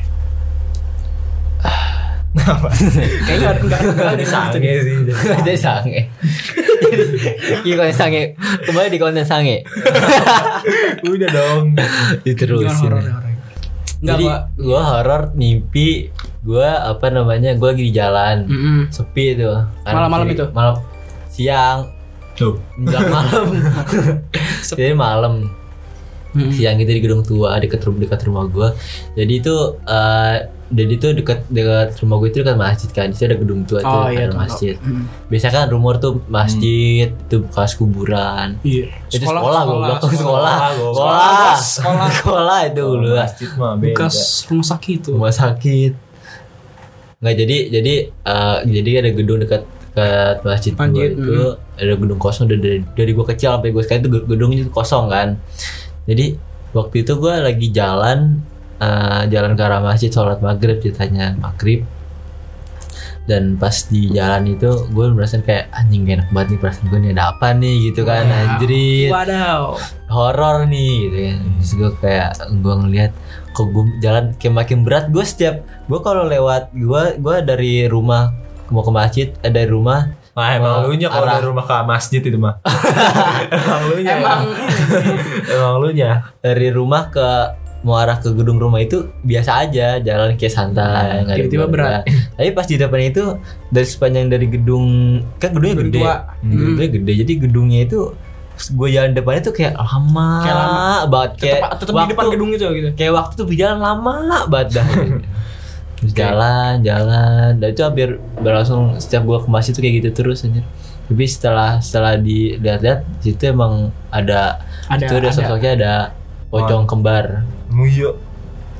Speaker 1: Kayaknya nggak- nggak nggak ada
Speaker 3: Ada sange
Speaker 1: gitu.
Speaker 3: sih.
Speaker 4: Jadi sange Iya konten sange Kembali di konten sange
Speaker 3: Udah dong.
Speaker 1: Gimana
Speaker 4: Diterusin
Speaker 1: horornya horornya? Nggak
Speaker 4: Jadi
Speaker 1: Pak.
Speaker 4: gue horor mimpi Gue apa namanya Gue lagi di jalan
Speaker 1: Mm-mm.
Speaker 4: Sepi itu Kanan
Speaker 1: Hmm. Malam-malam
Speaker 4: kiri.
Speaker 1: itu?
Speaker 4: Malam Siang
Speaker 3: Tuh.
Speaker 4: Menjelang malam Jadi malam
Speaker 1: Mm-mm.
Speaker 4: siang gitu di gedung tua dekat rumah dekat rumah gue jadi itu eh, jadi itu dekat dekat rumah gue itu dekat masjid kan di situ ada gedung tua
Speaker 1: Oh
Speaker 4: tuh
Speaker 1: iya Mm. tahu,
Speaker 4: ada
Speaker 1: tahu.
Speaker 4: masjid
Speaker 1: Mm.
Speaker 4: biasanya kan rumor tuh masjid itu bekas kuburan
Speaker 1: Iya
Speaker 4: itu sekolah gue bilang sekolah sekolah
Speaker 3: sekolah,
Speaker 4: sekolah
Speaker 1: sekolah.
Speaker 4: Sekolah itu
Speaker 1: Oh,
Speaker 4: lu
Speaker 3: Masjid mah beda.
Speaker 1: Bekas rumah sakit tuh
Speaker 4: rumah sakit nggak jadi jadi eh, jadi ada gedung dekat dekat masjid gua
Speaker 1: Masjid, mm-hmm.
Speaker 4: itu ada gedung kosong dari dari, dari gua kecil sampai gua sekarang itu gedungnya itu kosong kan jadi waktu itu gua lagi jalan eh, jalan ke arah masjid sholat maghrib ceritanya maghrib dan pas di jalan itu gue merasa kayak anjing gak enak banget nih perasaan gue nih ada apa nih gitu kan
Speaker 1: Wow. Iya.
Speaker 4: anjrit
Speaker 1: Wadaw
Speaker 4: horor nih gitu kan terus gue kayak gue ngelihat kok gue jalan kayak makin berat gue setiap gue kalau lewat gue gue dari rumah mau ke masjid eh, dari rumah
Speaker 3: Nah, emang lu nya kalau
Speaker 4: Arah.
Speaker 3: dari rumah ke masjid itu mah. emang ya. lu nya. Emang,
Speaker 1: Emang
Speaker 3: lu nya.
Speaker 4: dari rumah ke mau arah ke gedung rumah itu biasa aja jalan kayak santai nggak ada
Speaker 1: Iya, tiba-tiba
Speaker 4: gimana. tapi pas di depan itu dari sepanjang dari gedung kan gedungnya
Speaker 1: Gedung
Speaker 4: gede
Speaker 1: tua.
Speaker 4: Hmm, gedungnya gede jadi gedungnya itu gue jalan depannya tuh kayak lama,
Speaker 1: Kayak lama.
Speaker 4: banget kayak
Speaker 1: Tetep tetep di depan
Speaker 4: waktu-
Speaker 1: gedung itu gitu
Speaker 4: kayak waktu tuh berjalan lama banget dah Terus jalan jalan dan itu hampir berlangsung setiap gua ke masjid tuh kayak gitu terus anjir tapi setelah setelah dilihat-lihat situ emang ada,
Speaker 1: Ada-
Speaker 4: itu ada,
Speaker 1: ada.
Speaker 4: sosoknya ada pocong kembar
Speaker 3: Muyo.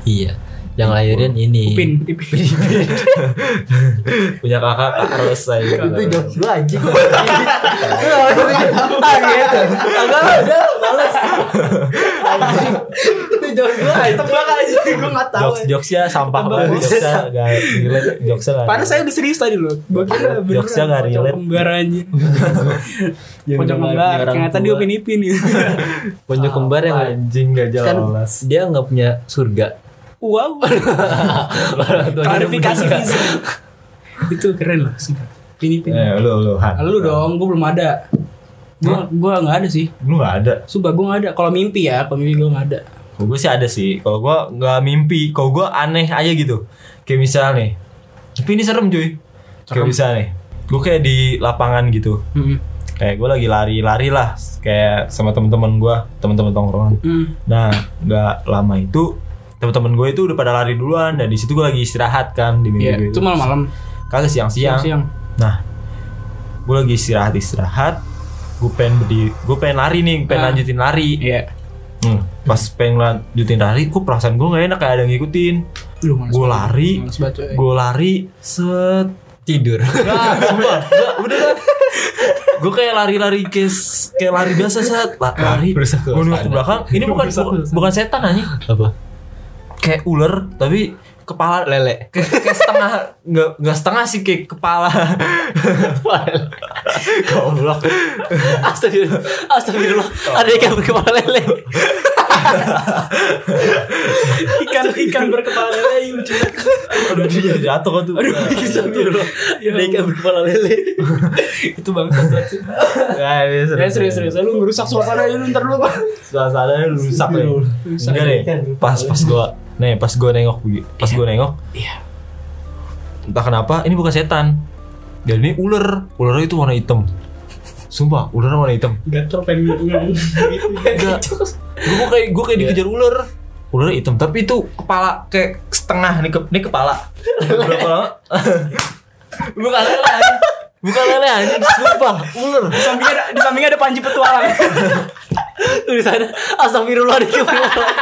Speaker 4: iya yang lahirin ini
Speaker 1: Ipin, Ipin.
Speaker 3: Punya kakak Carlos saya.
Speaker 4: itu jokes gue anjing ah gitu agak udah males Anjing. itu jokes gue
Speaker 1: Tebak aja, gue nggak tahu.
Speaker 3: Jokes jokesnya sampah
Speaker 1: Tebak
Speaker 3: banget.
Speaker 1: banget.
Speaker 3: Jokesnya nggak relate. Jokesnya nggak
Speaker 1: Panas
Speaker 3: relate.
Speaker 1: saya udah serius tadi loh. Gue kira beneran
Speaker 3: Jokesnya nggak
Speaker 1: pocong
Speaker 3: relate.
Speaker 1: kembar anjir.
Speaker 3: Yang
Speaker 1: Pocong
Speaker 3: dengar
Speaker 1: kembar.
Speaker 3: orang
Speaker 1: Ternyata dia
Speaker 3: tua.
Speaker 1: Upin Ipin gitu.
Speaker 4: pocong kembar yang
Speaker 3: anjing nggak
Speaker 4: kan
Speaker 3: jelas.
Speaker 4: dia nggak punya surga
Speaker 1: Wow. Klarifikasi fisik. Itu keren lah sih. Upin Ipin.
Speaker 3: Eh, lu lu Han.
Speaker 1: Lalu dong, gue belum ada. Gue gue nggak ada sih.
Speaker 3: Lu nggak ada.
Speaker 1: Sumpah gue nggak ada. Kalau mimpi ya, kalau mimpi gue nggak ada.
Speaker 3: Kalau gue sih ada sih. Kalau gue nggak mimpi. Kalau gue aneh aja gitu. Kayak misal nih. Tapi ini serem cuy. Kayak misal nih. Gue kayak di lapangan gitu.
Speaker 1: Hmm.
Speaker 3: Kayak gue lagi lari-lari lah. Kayak sama temen-temen gue. Temen-temen tongkrongan.
Speaker 1: Hmm.
Speaker 3: Nah, nggak lama itu teman-teman gue itu udah pada lari duluan dan di situ gue lagi istirahat kan di mimpi
Speaker 1: Iya,
Speaker 3: gue
Speaker 1: itu malam-malam.
Speaker 3: Kagak siang-siang.
Speaker 1: Siang-siang.
Speaker 3: Nah, gue lagi istirahat istirahat. Gue pengen berdiri, gue pengen lari nih, pengen
Speaker 1: Ah.
Speaker 3: lanjutin lari.
Speaker 1: Iya.
Speaker 3: Hmm, pas pengen lanjutin lari, gue perasaan gue nggak enak kayak ada yang ngikutin.
Speaker 1: Lu males
Speaker 3: Gue
Speaker 1: banget.
Speaker 3: lari,
Speaker 1: Males banget, coy.
Speaker 3: gue lari, set.
Speaker 4: tidur
Speaker 3: Nah, sumpah, nggak, udah kan. Gue kayak lari-lari kayak, kayak lari biasa set, La- lari. Gue
Speaker 4: Ah, Berusaha
Speaker 3: nengok ke belakang, ini bukan bukan setan anjing.
Speaker 4: apa
Speaker 3: kayak ular tapi kepala lele kayak, kayak setengah nggak nggak setengah sih kayak kepala goblok
Speaker 4: Astagfirullah, astagfirullah, ada ikan berkepala lele.
Speaker 1: ikan ikan berkepala lele yang lucu banget.
Speaker 3: aduh dia jatuh kan tuh
Speaker 4: Astagfirullah,
Speaker 1: Ya
Speaker 4: ada ikan berkepala lele.
Speaker 1: itu bangsat banget sih.
Speaker 3: nah, ini
Speaker 1: Ya serius serius lu ngerusak suasana dulu ntar dulu Pak.
Speaker 3: suasananya rusak nih
Speaker 1: Rusak.
Speaker 3: enggak nih pas pas gua nih pas gua nengok begi- pas gua nengok
Speaker 1: Iya.
Speaker 3: entah kenapa ini bukan setan dan ini ular ularnya itu warna hitam sumpah ularnya warna hitam
Speaker 1: Gatel pengen ngomong gitu.
Speaker 3: Enggak. gue gua kayak gue kayak dikejar ular. Ular hitam, tapi itu kepala kayak setengah nih ke, nih kepala. Berapa lama? Bukan lele. anjing. Bukan lele anjing, sumpah, ular.
Speaker 1: Di sampingnya ada, di sampingnya ada panji petualang.
Speaker 4: Tulisannya astagfirullah ada ikan berkepala.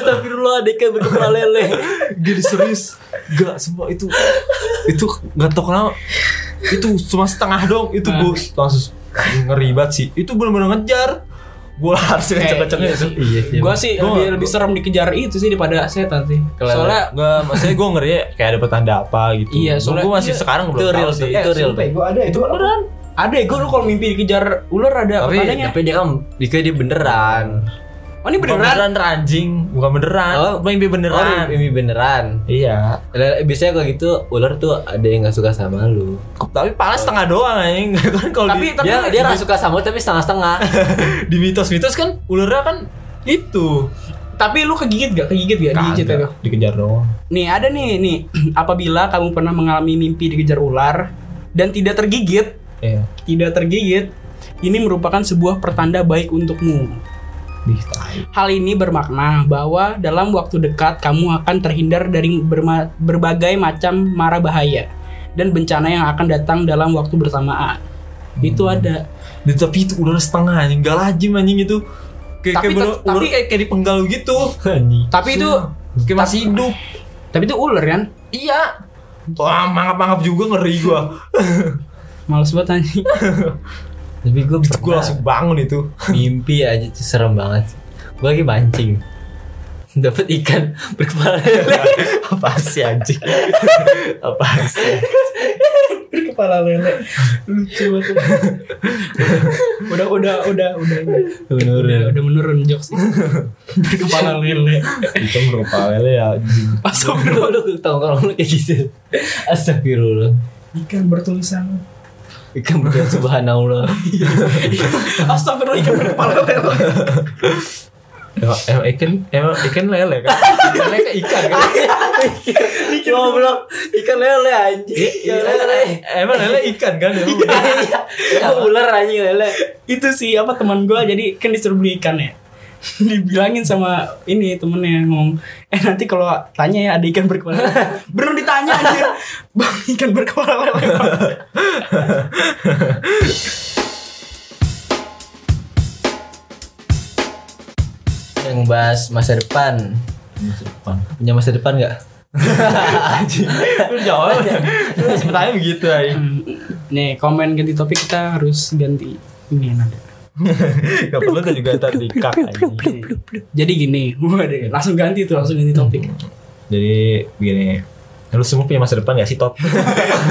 Speaker 4: Astagfirullah ada ikan berkepala lele.
Speaker 3: Gini serius. Enggak, sumpah itu itu enggak tau kenapa. Itu cuma setengah dong, itu gue langsung ngeribat sih. Itu benar-benar ngejar. Gue harus ngecek-ngeceknya itu.
Speaker 4: Iya sih.
Speaker 1: Gua sih
Speaker 3: Gua-
Speaker 1: lebih lebih serem dikejar itu sih daripada setan sih.
Speaker 4: Kelele.
Speaker 1: Soalnya
Speaker 3: Enggak, maksudnya gue ngeri kayak ada pertanda apa gitu.
Speaker 1: Iya,
Speaker 3: soalnya
Speaker 1: soalnya-
Speaker 3: gue masih
Speaker 1: iya.
Speaker 3: sekarang
Speaker 4: Itu
Speaker 3: belum
Speaker 4: real
Speaker 3: tahu
Speaker 4: tuh,
Speaker 3: sih.
Speaker 4: itu real. tuh.
Speaker 1: ada itu beneran. Ada ya, gue lu kalau mimpi dikejar ular ada
Speaker 3: Tapi-
Speaker 1: pertandanya.
Speaker 4: Tapi dia kan dikira dia beneran.
Speaker 1: Oh ini
Speaker 3: Bukan
Speaker 1: beneran.
Speaker 3: beneran anjing, bukan beneran.
Speaker 4: Oh.
Speaker 3: mimpi beneran.
Speaker 4: Oh, ini beneran.
Speaker 3: Iya.
Speaker 4: Lele- Biasanya kalau gitu ular tuh ada yang nggak suka sama lu.
Speaker 3: Tapi pala setengah doang anjing. kan kalau
Speaker 1: Tapi
Speaker 3: di,
Speaker 1: tapi
Speaker 4: Dia dia nggak suka sama lu tapi setengah-setengah.
Speaker 3: di mitos-mitos kan ularnya kan itu.
Speaker 1: tapi lu kegigit gak? Kegigit gak digigit ya, itu?
Speaker 3: Kagak, dikejar doang.
Speaker 1: Nih ada nih nih apabila kamu pernah mengalami mimpi dikejar ular dan tidak tergigit,
Speaker 3: Iya.
Speaker 1: tidak tergigit, ini merupakan sebuah pertanda baik untukmu.
Speaker 3: Dih, tai.
Speaker 1: Hal ini bermakna bahwa dalam waktu dekat kamu akan terhindar dari berma- berbagai macam mara bahaya dan bencana yang akan datang dalam waktu bersamaan. Itu ada.
Speaker 3: Dan tapi itu ular setengah anjing, gak lajim anjing itu. Kayak
Speaker 1: Tapi
Speaker 3: kayak bener-
Speaker 1: tet-
Speaker 3: ular
Speaker 1: tapi-
Speaker 3: kayak kayak dipenggal gitu.
Speaker 1: Tapi itu
Speaker 3: kayak masih hidup.
Speaker 1: tapi itu ular kan?
Speaker 3: Iya. Wah, mangap-mangap juga ngeri gua.
Speaker 1: Males banget anjing.
Speaker 4: Tapi gue
Speaker 3: gua langsung bangun itu.
Speaker 4: mimpi aja tuh serem banget gue lagi mancing dapat ikan berkepala lele
Speaker 3: Apa sih anjing? Apa sih?
Speaker 1: Kepala lele. Lucu banget. udah udah udah udah. Udah,
Speaker 4: menurun
Speaker 1: udah menurun jokes Kepala lele.
Speaker 3: Itu berupa lele ya anjing.
Speaker 4: lu lu ke tongkrong lu kayak gitu astagfirullah
Speaker 1: Ikan bertulisan.
Speaker 4: ikan berkepala subhanallah
Speaker 1: Astagfirullah ikan berkepala lele.
Speaker 3: Emang, emang ikan emang ikan lele kan? lele ke
Speaker 4: gitu.
Speaker 3: ikan kan?
Speaker 4: goblok ikan lele
Speaker 1: Iya,
Speaker 4: anjing ikan lele
Speaker 1: Eh,
Speaker 3: Emang lele ikan kan? Emang
Speaker 4: Iya, ular anjing lele
Speaker 1: Itu sih apa teman gue jadi kan disuruh beli ikan ya. dibilangin sama ini temennya ngomong eh nanti kalau tanya ya ada ikan berkepala lele." belum ditanya aja bang ikan berkepala lele Bang."
Speaker 4: yang bahas masa depan
Speaker 3: Masa depan.
Speaker 4: punya masa depan nggak
Speaker 3: Anjing. Lu jawab. Lu sebetulnya begitu aja.
Speaker 1: Hmm, nih komen ganti topik kita harus ganti ini yang ada
Speaker 3: Gak perlu tuh juga tadi kak anjing.
Speaker 1: jadi gini waduh langsung ganti tuh langsung ganti topik
Speaker 3: Jadi begini Lu semua punya masa depan gak sih Tot?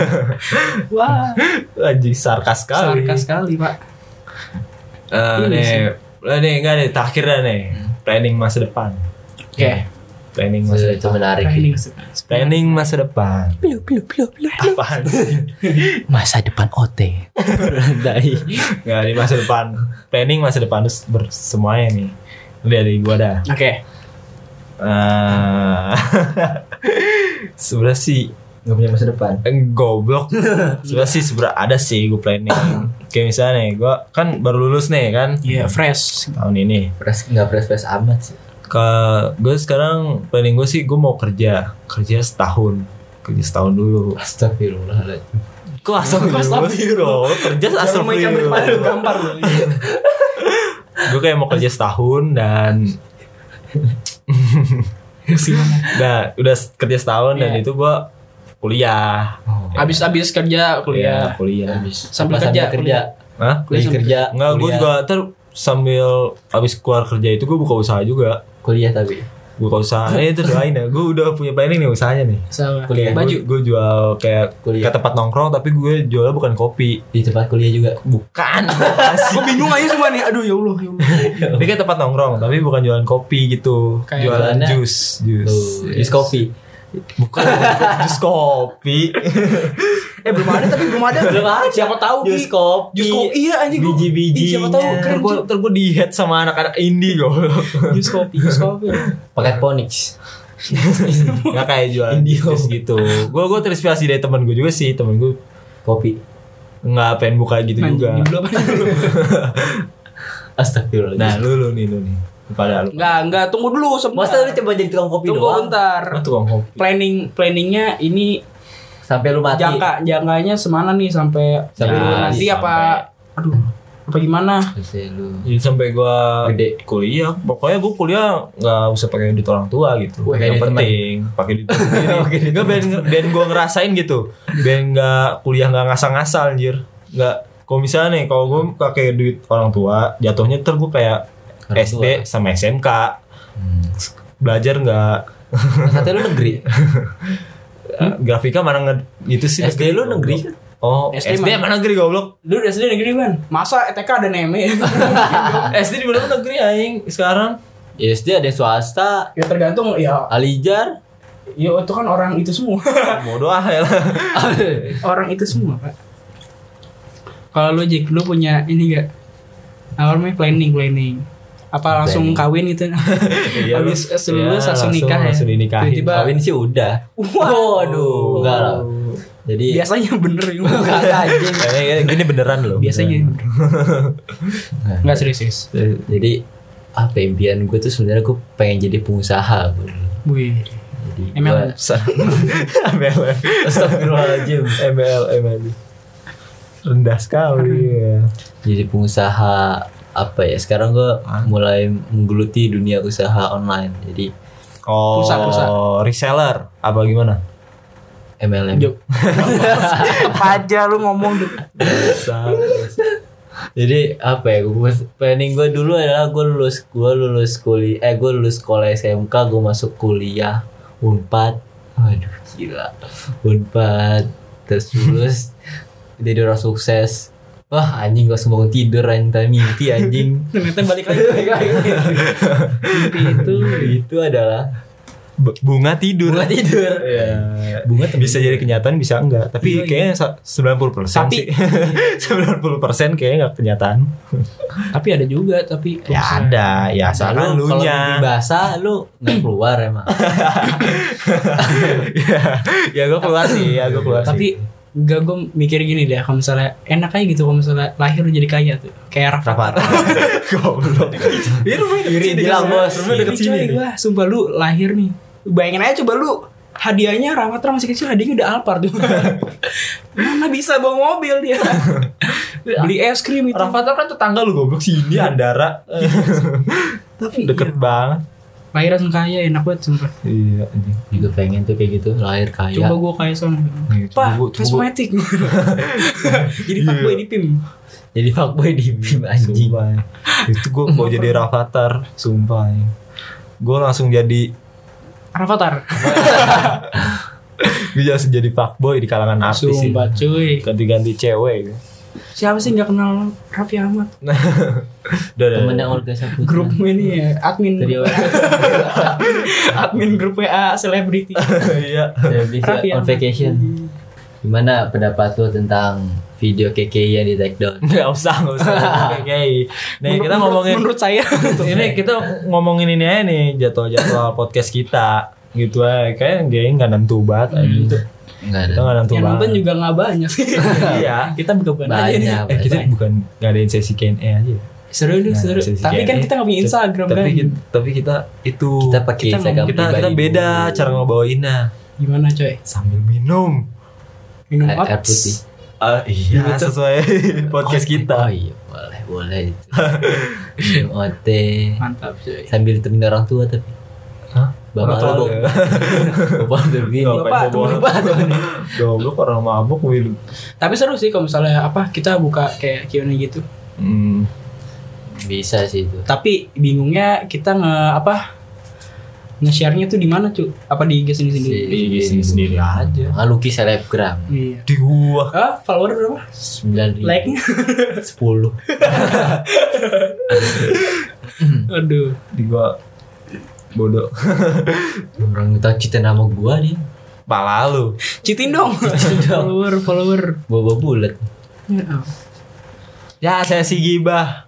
Speaker 1: wah
Speaker 3: Anjing sarkas sekali
Speaker 1: sarkas sekali pak
Speaker 3: Eh,
Speaker 1: Iya
Speaker 3: nih,
Speaker 1: sih. Hmm.
Speaker 3: eh, nih, enggak nih, terakhir dah nih. Planning masa depan.
Speaker 1: oke
Speaker 3: Planning masa
Speaker 4: itu
Speaker 3: depan.
Speaker 4: menarik
Speaker 1: Planning
Speaker 3: Planning masa depan. Apaan sih?
Speaker 4: masa depan OT dari
Speaker 3: Enggak di masa depan. Planning masa depan terus bersemuanya nih. Lu dari gua dah.
Speaker 1: oke
Speaker 3: Eh, sebenarnya sih
Speaker 4: nggak punya masa depan
Speaker 3: eh, goblok. Sebenarnya sih sebenarnya ada sih gua planning. Kayak misalnya nih, gua kan baru lulus nih kan
Speaker 1: ya fresh
Speaker 3: tahun ini.
Speaker 4: pres nggak pres pres amat sih
Speaker 3: ke gue sekarang planning gue sih gue mau kerja kerja setahun kerja setahun dulu
Speaker 4: Astagfirullahaladzim
Speaker 3: kok asal dulu kerja
Speaker 1: Jangan
Speaker 3: asal
Speaker 1: mau ikan berkepala lu gampar lu
Speaker 3: gue kayak mau kerja setahun dan
Speaker 1: Gimana?
Speaker 3: nah udah kerja setahun dan
Speaker 1: Iya. Oh,
Speaker 3: itu gue kuliah
Speaker 1: abis abis kerja
Speaker 3: Iya,
Speaker 1: kuliah
Speaker 3: kuliah
Speaker 4: Ya, habis
Speaker 1: Sambil
Speaker 4: Apa,
Speaker 1: kerja,
Speaker 4: kerja
Speaker 3: Hah?
Speaker 1: Kuliah
Speaker 4: Lagi
Speaker 1: sambil
Speaker 4: kerja
Speaker 3: nggak gue
Speaker 4: kuliah.
Speaker 3: juga ter sambil abis keluar kerja itu gue buka usaha juga
Speaker 4: kuliah tapi
Speaker 3: buka usaha eh itu doain ya gue udah punya planning nih usahanya nih
Speaker 1: sama
Speaker 4: Kuliah.
Speaker 1: baju
Speaker 3: gue jual kayak
Speaker 4: Kuliah.
Speaker 3: ke tempat nongkrong tapi gue jualnya bukan kopi
Speaker 4: di tempat kuliah juga
Speaker 3: bukan
Speaker 1: Gue bingung aja semua nih. Aduh ya Allah, ya Allah.
Speaker 3: Ini kayak tempat nongkrong tapi bukan jualan kopi gitu.
Speaker 1: Kayak
Speaker 3: jualan
Speaker 4: jualannya-
Speaker 3: jus, jus.
Speaker 4: Tuh,
Speaker 3: Yes.
Speaker 4: Jus kopi
Speaker 3: Bukan jus kopi.
Speaker 1: Eh belum ada tapi belum ada.
Speaker 4: Belum ada.
Speaker 1: Siapa tahu Ki.
Speaker 4: Jus kopi.
Speaker 1: Jus kopi. Iya anjing. gua- Ih,
Speaker 3: Biji-biji. Iya.
Speaker 1: Siapa tahu keren
Speaker 3: Ntar gue ntar gue di head sama anak-anak indie loh.
Speaker 1: jus kopi, jus kopi.
Speaker 4: pakai ponix
Speaker 3: Nggak kayak jualan
Speaker 4: Indie
Speaker 3: jus gitu. Gue gue terinspirasi dari temen gue juga sih. Temen gue
Speaker 4: kopi
Speaker 3: nggak pengen buka gitu
Speaker 1: Anjing,
Speaker 3: juga.
Speaker 1: di belum ada dulu.
Speaker 4: Astagfirullahaladzim
Speaker 3: Nah lu lu nih lu nih. Pada lu.
Speaker 1: Enggak, enggak tunggu dulu
Speaker 4: Masa lu
Speaker 1: sebentar.
Speaker 4: coba jadi tukang kopi
Speaker 1: Tunggu
Speaker 4: doang?
Speaker 3: Lu
Speaker 1: bentar.
Speaker 3: tukang kopi.
Speaker 1: Planning planningnya ini
Speaker 4: Sampai lu mati.
Speaker 1: jangka jangkanya semana nih sampai
Speaker 4: Sampai
Speaker 1: dulu
Speaker 4: dulu.
Speaker 1: nanti apa aduh apa gimana?
Speaker 4: Sampai lu
Speaker 3: Jadi sampai gue
Speaker 4: Gede.
Speaker 3: kuliah, pokoknya gue kuliah nggak usah pakai duit orang tua gitu. yang
Speaker 4: Wah, kayak duit
Speaker 3: penting pakai duit gue sendiri. Gak ben ben gue ngerasain gitu. Ben nggak kuliah nggak ngasal-ngasal anjir. Nggak. Kalau misalnya nih, kalau gue pakai duit orang tua, jatuhnya ter gue kayak
Speaker 4: Orang
Speaker 3: SD sama SMK
Speaker 4: Hmm.
Speaker 3: belajar nggak
Speaker 4: Katanya lu negeri.
Speaker 3: grafika mana nge itu sih
Speaker 4: SD Hmm? lu negeri kan?
Speaker 3: oh
Speaker 1: SD
Speaker 3: SD, mana negeri goblok
Speaker 1: Lu udah sendiri negeri kan? Masa TK ada neme?
Speaker 3: SD di mana negeri aing sekarang
Speaker 4: Ya, SD ada yang swasta,
Speaker 1: ya tergantung ya
Speaker 4: Alijar.
Speaker 1: ya itu kan orang itu semua.
Speaker 3: bodoh ah ya lah
Speaker 1: orang itu semua pak kalau lu Jik lu punya ini gak apa namanya planning planning apa langsung
Speaker 4: Planning.
Speaker 1: kawin gitu
Speaker 3: Iya, lu-
Speaker 1: habis lulus langsung
Speaker 3: langsung-
Speaker 1: nikah ya
Speaker 3: langsung dinikahin.
Speaker 1: tiba-tiba
Speaker 4: Kawin sih udah. Waduh, enggak lah. Jadi
Speaker 1: biasanya bener ya
Speaker 4: Kagak, anjing.
Speaker 3: Eh, eh, Ini beneran loh.
Speaker 1: biasanya
Speaker 3: beneran.
Speaker 1: bener nggak serius serius
Speaker 3: Eh,
Speaker 4: Jadi apa impian gue tuh sebenarnya gue pengen jadi pengusaha gue.
Speaker 1: Wih.
Speaker 4: Jadi
Speaker 1: MLM.
Speaker 4: gua-
Speaker 3: sa- ML,
Speaker 4: Astagfirullahaladzim.
Speaker 3: ML, ML. Rendah sekali ya.
Speaker 4: Jadi pengusaha apa ya? Sekarang gue mulai menggeluti dunia usaha online. Jadi
Speaker 3: Oh,
Speaker 1: Pulsa, pulsa.
Speaker 3: reseller apa gimana?
Speaker 4: MLM.
Speaker 1: Jok. Tetep aja lu ngomong gitu.
Speaker 4: Jadi apa ya? Gue planning gue dulu adalah gue lulus gue lulus kuliah eh gue lulus sekolah SMK gue masuk kuliah unpad. Waduh gila unpad terus lulus jadi orang sukses. Wah anjing gue sembangun tidur anjing tadi mimpi anjing.
Speaker 1: ternyata balik lagi mimpi itu
Speaker 4: Itu adalah
Speaker 3: B- Bunga tidur.
Speaker 4: bunga tidur.
Speaker 3: Iya.
Speaker 4: Bunga tidur.
Speaker 3: Bisa jadi kenyataan bisa enggak Tapi
Speaker 1: Iya, iya.
Speaker 3: kayaknya sa- 90%
Speaker 1: Tapi-
Speaker 3: sih 90% kayaknya enggak kenyataan
Speaker 1: tapi ada juga tapi
Speaker 3: Ya ada Ya asalkan
Speaker 4: Lu
Speaker 3: lu
Speaker 4: kalau mimpi
Speaker 3: nya
Speaker 4: basah lu nggak keluar emang.
Speaker 3: Ya gue keluar sih Ya gue keluar sih
Speaker 1: tapi Gak gue mikir gini deh kalau misalnya enak aja gitu kalau misalnya lahir lu jadi kaya tuh kayak Rafa.
Speaker 4: Rafa.
Speaker 3: Goblok. Iya rumahnya deket
Speaker 4: Iri
Speaker 3: sini,
Speaker 4: bilang,
Speaker 3: kan?
Speaker 4: bos.
Speaker 3: Rumahnya deket
Speaker 1: Ini
Speaker 3: sini.
Speaker 1: Iya, coy,
Speaker 3: nih.
Speaker 1: wah, sumpah lu lahir nih. Bayangin aja coba lu hadiahnya Ramatra masih kecil hadiahnya udah Alphard tuh. Mana bisa bawa mobil dia? Beli es krim itu.
Speaker 3: Rafa kan tetangga lu goblok sini Andara.
Speaker 1: Tapi
Speaker 3: Iya.
Speaker 1: iya,
Speaker 3: Deket banget.
Speaker 1: lahir langsung kaya enak banget sumpah.
Speaker 3: Iya anjing.
Speaker 4: Juga pengen tuh kayak gitu lahir
Speaker 1: Coba
Speaker 4: kaya.
Speaker 1: gua kaya sama.
Speaker 3: Nih, Iya. coba
Speaker 1: Pak,
Speaker 3: gua- Iya. coba gua-
Speaker 1: kosmetik. Jadi fuckboy di PIM.
Speaker 4: Jadi fuckboy di BIM anjing.
Speaker 3: Sumpah. ya. Itu gue mau jadi Rafathar, sumpah. Gue langsung jadi
Speaker 1: Rafathar.
Speaker 3: gue langsung jadi fuckboy di kalangan artis. ya.
Speaker 1: Sumpah cuy.
Speaker 3: Ganti-ganti cewek. gitu.
Speaker 1: Siapa sih nggak kenal Raffi Ahmad?
Speaker 3: Udah, udah,
Speaker 4: Temennya
Speaker 3: udah.
Speaker 4: Olga Saputra.
Speaker 1: Grup ini ya, admin
Speaker 4: Trio.
Speaker 1: admin grup WA selebriti.
Speaker 3: Iya.
Speaker 1: Raffi
Speaker 4: on
Speaker 1: Ahmad.
Speaker 4: vacation. Gimana pendapat lu tentang video KKI yang di take down?
Speaker 3: Gak usah, gak usah. Oke. Nih
Speaker 1: Menurut-
Speaker 3: kita
Speaker 1: menurut-
Speaker 3: ngomongin
Speaker 1: menurut saya
Speaker 3: ini kita ngomongin ini aja nih jadwal-jadwal podcast kita gitu aja kayak geng nggak nentu banget aja gitu
Speaker 4: Enggak
Speaker 3: kita
Speaker 4: ada.
Speaker 3: nggak nentu
Speaker 1: yang nonton
Speaker 3: banget
Speaker 1: juga nggak banyak sih.
Speaker 3: iya
Speaker 1: kita buka-bukaan aja nih.
Speaker 4: Banyak.
Speaker 3: eh kita
Speaker 4: banyak.
Speaker 3: bukan ngadain sesi Q&A aja ya.
Speaker 1: Seru nih,
Speaker 3: Nah,
Speaker 1: seru.
Speaker 3: sesi
Speaker 1: Tapi kan
Speaker 3: Q&A.
Speaker 1: kita nggak punya Instagram
Speaker 3: tapi
Speaker 1: kan.
Speaker 3: kita, tapi kita itu
Speaker 4: Kita pakai
Speaker 1: Kita
Speaker 4: Instagram
Speaker 3: kita, kita
Speaker 4: pribadi.
Speaker 3: beda cara ngebawainnya
Speaker 1: Gimana coy?
Speaker 3: sambil minum
Speaker 1: Minum
Speaker 4: Air- air
Speaker 1: apa?
Speaker 4: putih.
Speaker 3: Ah, iya sesuai podcast
Speaker 4: Ote.
Speaker 3: kita
Speaker 4: Oh iya, boleh, boleh itu. Minum ote.
Speaker 1: Mantap coy.
Speaker 4: Sambil ditemenin orang tua tapi.
Speaker 3: Hah?
Speaker 4: Bapak
Speaker 3: Orang
Speaker 4: lu
Speaker 3: tua.
Speaker 4: Bapak lu begini.
Speaker 3: Ngapain
Speaker 1: Bapak,
Speaker 3: bawa-
Speaker 1: temen
Speaker 3: Goblok orang mabuk minum.
Speaker 1: Tapi seru sih kalau misalnya apa kita buka kayak Q&A gitu.
Speaker 3: Hmm.
Speaker 4: Bisa sih itu.
Speaker 1: Tapi bingungnya kita nge apa nge-share-nya tuh di mana, Cuk? Apa di IG sendiri?
Speaker 3: Di IG sendiri- sendiri aja.
Speaker 4: Nggak lukis selebgram.
Speaker 1: Iya.
Speaker 3: Di gua.
Speaker 1: Ah, follower berapa?
Speaker 4: 9 ribu.
Speaker 1: Like-nya?
Speaker 4: 10.
Speaker 1: Aduh.
Speaker 3: Di gua bodoh.
Speaker 4: Orang minta cita nama gua nih.
Speaker 3: Pala lu.
Speaker 1: Citin dong.
Speaker 4: dong.
Speaker 1: follower, follower.
Speaker 4: Bobo bulat.
Speaker 1: Ya ampun.
Speaker 3: Ya saya si gibah.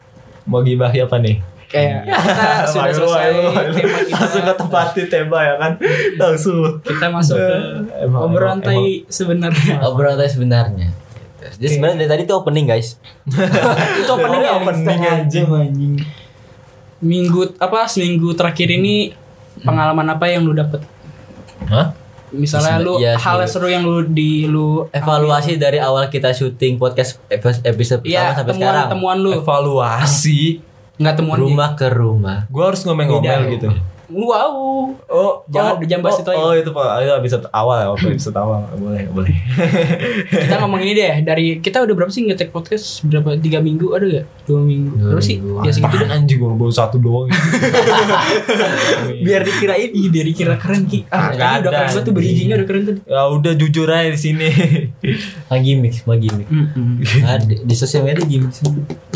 Speaker 3: Mau gibah siapa nih?
Speaker 1: Kayak kita sudah
Speaker 3: Ayo,
Speaker 1: selesai
Speaker 3: ayo, ayo.
Speaker 1: tema kita. Hmm.
Speaker 3: Langsung ke tempat di tema ya kan. Langsung.
Speaker 1: Kita masuk ke
Speaker 3: Emang-
Speaker 1: obrolan
Speaker 3: emang-
Speaker 1: tai sebenarnya.
Speaker 4: Obrolan tadi sebenarnya. Jadi sebenarnya dari tadi tuh opening guys.
Speaker 1: Itu opening ya.
Speaker 3: Oh, opening anjing.
Speaker 1: Minggu apa seminggu terakhir ini pengalaman apa yang lu dapet?
Speaker 4: Hah?
Speaker 1: Misalnya lu
Speaker 4: Iya,
Speaker 1: hal
Speaker 4: seminggu.
Speaker 1: seru yang lu di lu
Speaker 4: Evaluasi dari awal kita syuting podcast episode episode pertama
Speaker 1: Iya,
Speaker 4: sampai
Speaker 1: temuan
Speaker 4: sekarang. Eh,
Speaker 1: temuan lu.
Speaker 3: Evaluasi.
Speaker 1: Enggak temuan
Speaker 4: Rumah ke rumah.
Speaker 3: Gua harus ngomel-ngomel
Speaker 1: Beda.
Speaker 3: gitu.
Speaker 1: di- Wow.
Speaker 3: Oh,
Speaker 1: Jangan
Speaker 3: oh,
Speaker 1: dijambas
Speaker 3: oh,
Speaker 1: itu aja.
Speaker 3: Oh, itu Pak. Itu episode awal ya, episode awal. Boleh, boleh.
Speaker 1: Kita ngomong ini deh dari kita udah berapa sih ngetek podcast berapa tiga minggu ada gak dua minggu
Speaker 4: Dua
Speaker 1: berapa sih
Speaker 4: minggu.
Speaker 1: ya segitu
Speaker 3: Apaan
Speaker 1: dah
Speaker 3: anjing gua baru satu doang.
Speaker 4: iya.
Speaker 1: biar dikirain ih biar dikira keren ki ah, tadi
Speaker 3: Nggak
Speaker 1: udah
Speaker 3: ada,
Speaker 1: keren banget tuh
Speaker 3: anjing.
Speaker 1: berijingnya udah keren tadi
Speaker 3: ya udah jujur aja di sini.
Speaker 4: Lagi mix, lagi mix. Nah, di, di sosial media gimmick.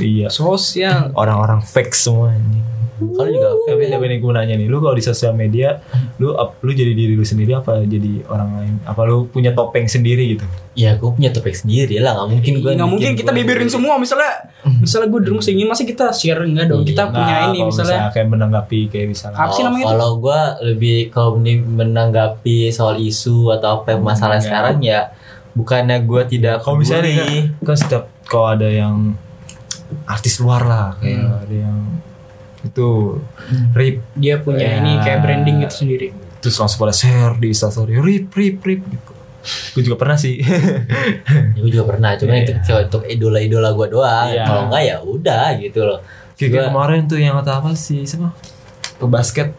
Speaker 3: iya.
Speaker 1: sosial
Speaker 3: Orang-orang fake semua anjing.
Speaker 4: Kalau juga
Speaker 3: Tapi tapi nih gue nanya nih, lu kalau di sosial media, lu ap- lu jadi diri lu sendiri apa jadi orang lain? Apa lu punya topeng sendiri gitu?
Speaker 4: ya gue punya topik sendiri lah, nggak mungkin gue.
Speaker 1: nggak mungkin kita bibirin semua misalnya misalnya gue drum singin masih kita share enggak dong kita
Speaker 3: Nah,
Speaker 1: punya ini
Speaker 3: kalau
Speaker 1: misalnya
Speaker 3: kayak menanggapi kayak misalnya
Speaker 1: Apa sih namanya itu?
Speaker 4: Kalau gue lebih kalau men- menanggapi soal isu atau apa yang masalah
Speaker 3: Enggak.
Speaker 4: sekarang ya bukannya gue tidak
Speaker 3: kalau misalnya nih,
Speaker 4: peduli.
Speaker 3: kan, kan setiap kalau ada yang artis luar lah kayak
Speaker 1: Hmm.
Speaker 3: ada yang itu rip
Speaker 1: dia punya
Speaker 4: Iya.
Speaker 3: Ya.
Speaker 1: ini kayak branding gitu sendiri
Speaker 3: terus langsung pada share di instastory rip rip rip gitu. Gue juga pernah sih.
Speaker 4: Ya, gue juga pernah,
Speaker 3: Iya.
Speaker 4: cuman itu cuma untuk idola-idola gue doang.
Speaker 3: Iya.
Speaker 4: Kalau enggak ya udah gitu loh.
Speaker 3: kayak kayak
Speaker 4: Gua-
Speaker 3: kemarin tuh yang kata apa sih siapa? Ke basket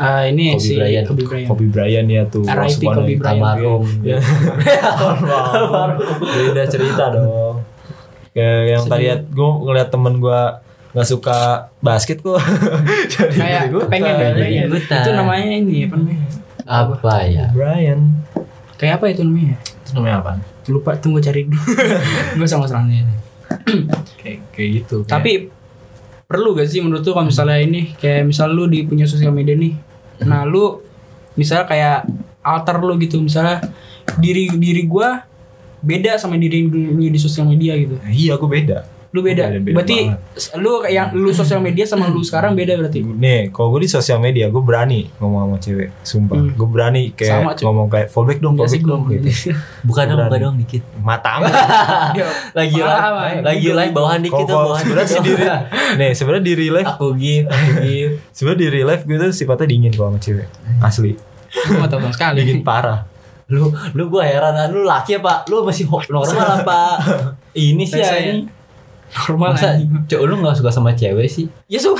Speaker 1: Ah, ini
Speaker 4: Kobe
Speaker 1: si
Speaker 4: Bryant.
Speaker 1: Kobe Bryant
Speaker 3: Kobe Bryant ya tuh.
Speaker 1: R.I.P.
Speaker 3: Langsung pada
Speaker 1: Kobe Bryant.
Speaker 4: Almarhum. Iya.
Speaker 3: Ya. Beda cerita dong. Kayak yang tadi gue ngeliat temen gue nggak suka basket kok. Jadi
Speaker 1: kayak
Speaker 3: ikutan.
Speaker 1: kepengen deh
Speaker 4: Jadi
Speaker 1: kayaknya.
Speaker 4: ikutan.
Speaker 1: itu namanya ini apa namanya
Speaker 4: Apa ya?
Speaker 3: Brian.
Speaker 1: kayak apa itu namanya
Speaker 3: Itu namanya apa?
Speaker 1: lupa tunggu cari dulu nggak sama serangnya
Speaker 3: Kayak kayak gitu. kayak-
Speaker 1: tapi perlu gak sih menurut tuh kalau misalnya ini kayak misal lu di punya sosial media nih nah lu misalnya kayak alter lu gitu misalnya diri diri gua beda sama diri lu, lu di sosial media gitu
Speaker 3: Nah, iya gue beda.
Speaker 1: Lu beda.
Speaker 3: Beda- beda
Speaker 1: berarti lu kayak yang lu sosial media sama lu sekarang beda berarti.
Speaker 3: Nih, kalau gue di sosial media gue berani ngomong sama cewek, sumpah.
Speaker 1: Hmm.
Speaker 3: Gue berani kayak
Speaker 1: Sama, cuy.
Speaker 3: ngomong kayak fallback dong,
Speaker 1: Enggak sih
Speaker 3: fallback
Speaker 1: gue.
Speaker 3: dong gitu.
Speaker 4: Buka dong, buka
Speaker 3: Berani.
Speaker 4: dong dikit.
Speaker 3: Matamu.
Speaker 4: Lagi
Speaker 1: Paham,
Speaker 4: live,
Speaker 1: Bang.
Speaker 4: lagi live bawahan dikit
Speaker 3: Kalau
Speaker 4: dong,
Speaker 3: kalau
Speaker 4: bawahan
Speaker 3: sebenarnya
Speaker 4: dikit
Speaker 3: sih di
Speaker 4: dong.
Speaker 3: real- nih sebenarnya di real life,
Speaker 4: Aku give, aku give.
Speaker 3: sebenarnya di real life gue tuh sifatnya dingin kalau sama cewek. Asli,
Speaker 1: Gue gak tau sama sekali.
Speaker 3: dingin parah.
Speaker 4: Lu, lu gue heran, lu laki apa? Lu masih ho- normal apa? Ini sih
Speaker 1: Biasa
Speaker 4: ya.
Speaker 1: ini. Normal
Speaker 4: Masa,
Speaker 1: anjing.
Speaker 4: cowok lu gak suka sama cewek sih?
Speaker 1: Ya suka.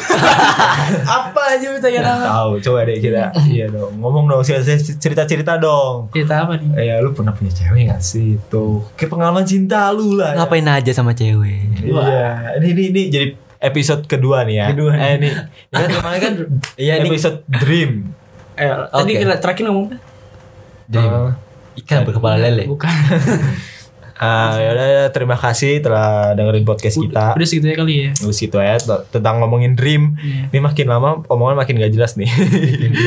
Speaker 1: Apa aja bisa ya nama.
Speaker 3: Tahu, coba deh kita, iya dong. Ngomong dong, cerita cerita dong.
Speaker 1: Cerita apa nih?
Speaker 3: Eh, Ya, lu pernah punya cewek gak sih? Tuh, kayak pengalaman cinta lu lah. ya.
Speaker 4: Ngapain aja sama cewek?
Speaker 3: Iya, ini, ini ini jadi episode kedua nih ya.
Speaker 4: Kedua nih.
Speaker 3: Eh, ini. Ini kan kemarin kan
Speaker 4: Iya nih,
Speaker 3: episode dream.
Speaker 1: Eh, tadi
Speaker 4: Oke.
Speaker 1: kita terakhir ngomong apa?
Speaker 4: Dream.
Speaker 3: Eh,
Speaker 4: ikan berkepala lele.
Speaker 1: Bukan.
Speaker 3: Ah, yaudah, ya, terima kasih telah dengerin podcast kita.
Speaker 1: Udah segitu ya kali ya.
Speaker 3: Terus gitu ya t- tentang ngomongin dream.
Speaker 1: Iya.
Speaker 3: Ini makin lama omongan makin gak jelas nih.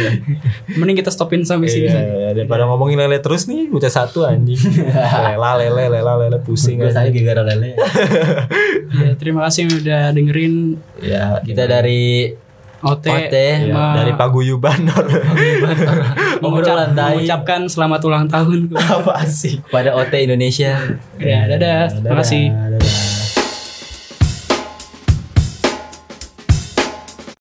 Speaker 1: Mending kita stopin sampai sini.
Speaker 3: Iya, daripada ngomongin lele terus nih, bocah satu anjing. lela lele, lela lele pusing.
Speaker 4: Gue saya
Speaker 3: anjing.
Speaker 4: gara lele.
Speaker 1: Ya, terima kasih yang udah dengerin
Speaker 3: Ya,
Speaker 4: Kita dari
Speaker 1: OT,
Speaker 4: OT,
Speaker 3: ya,
Speaker 1: sama
Speaker 3: dari paguyuban
Speaker 1: mengucap,
Speaker 4: obrolan tai
Speaker 1: mengucapkan selamat ulang tahun.
Speaker 3: apa sih?
Speaker 4: pada OT Indonesia.
Speaker 1: ya, dadah. Terima kasih.
Speaker 3: Dadah.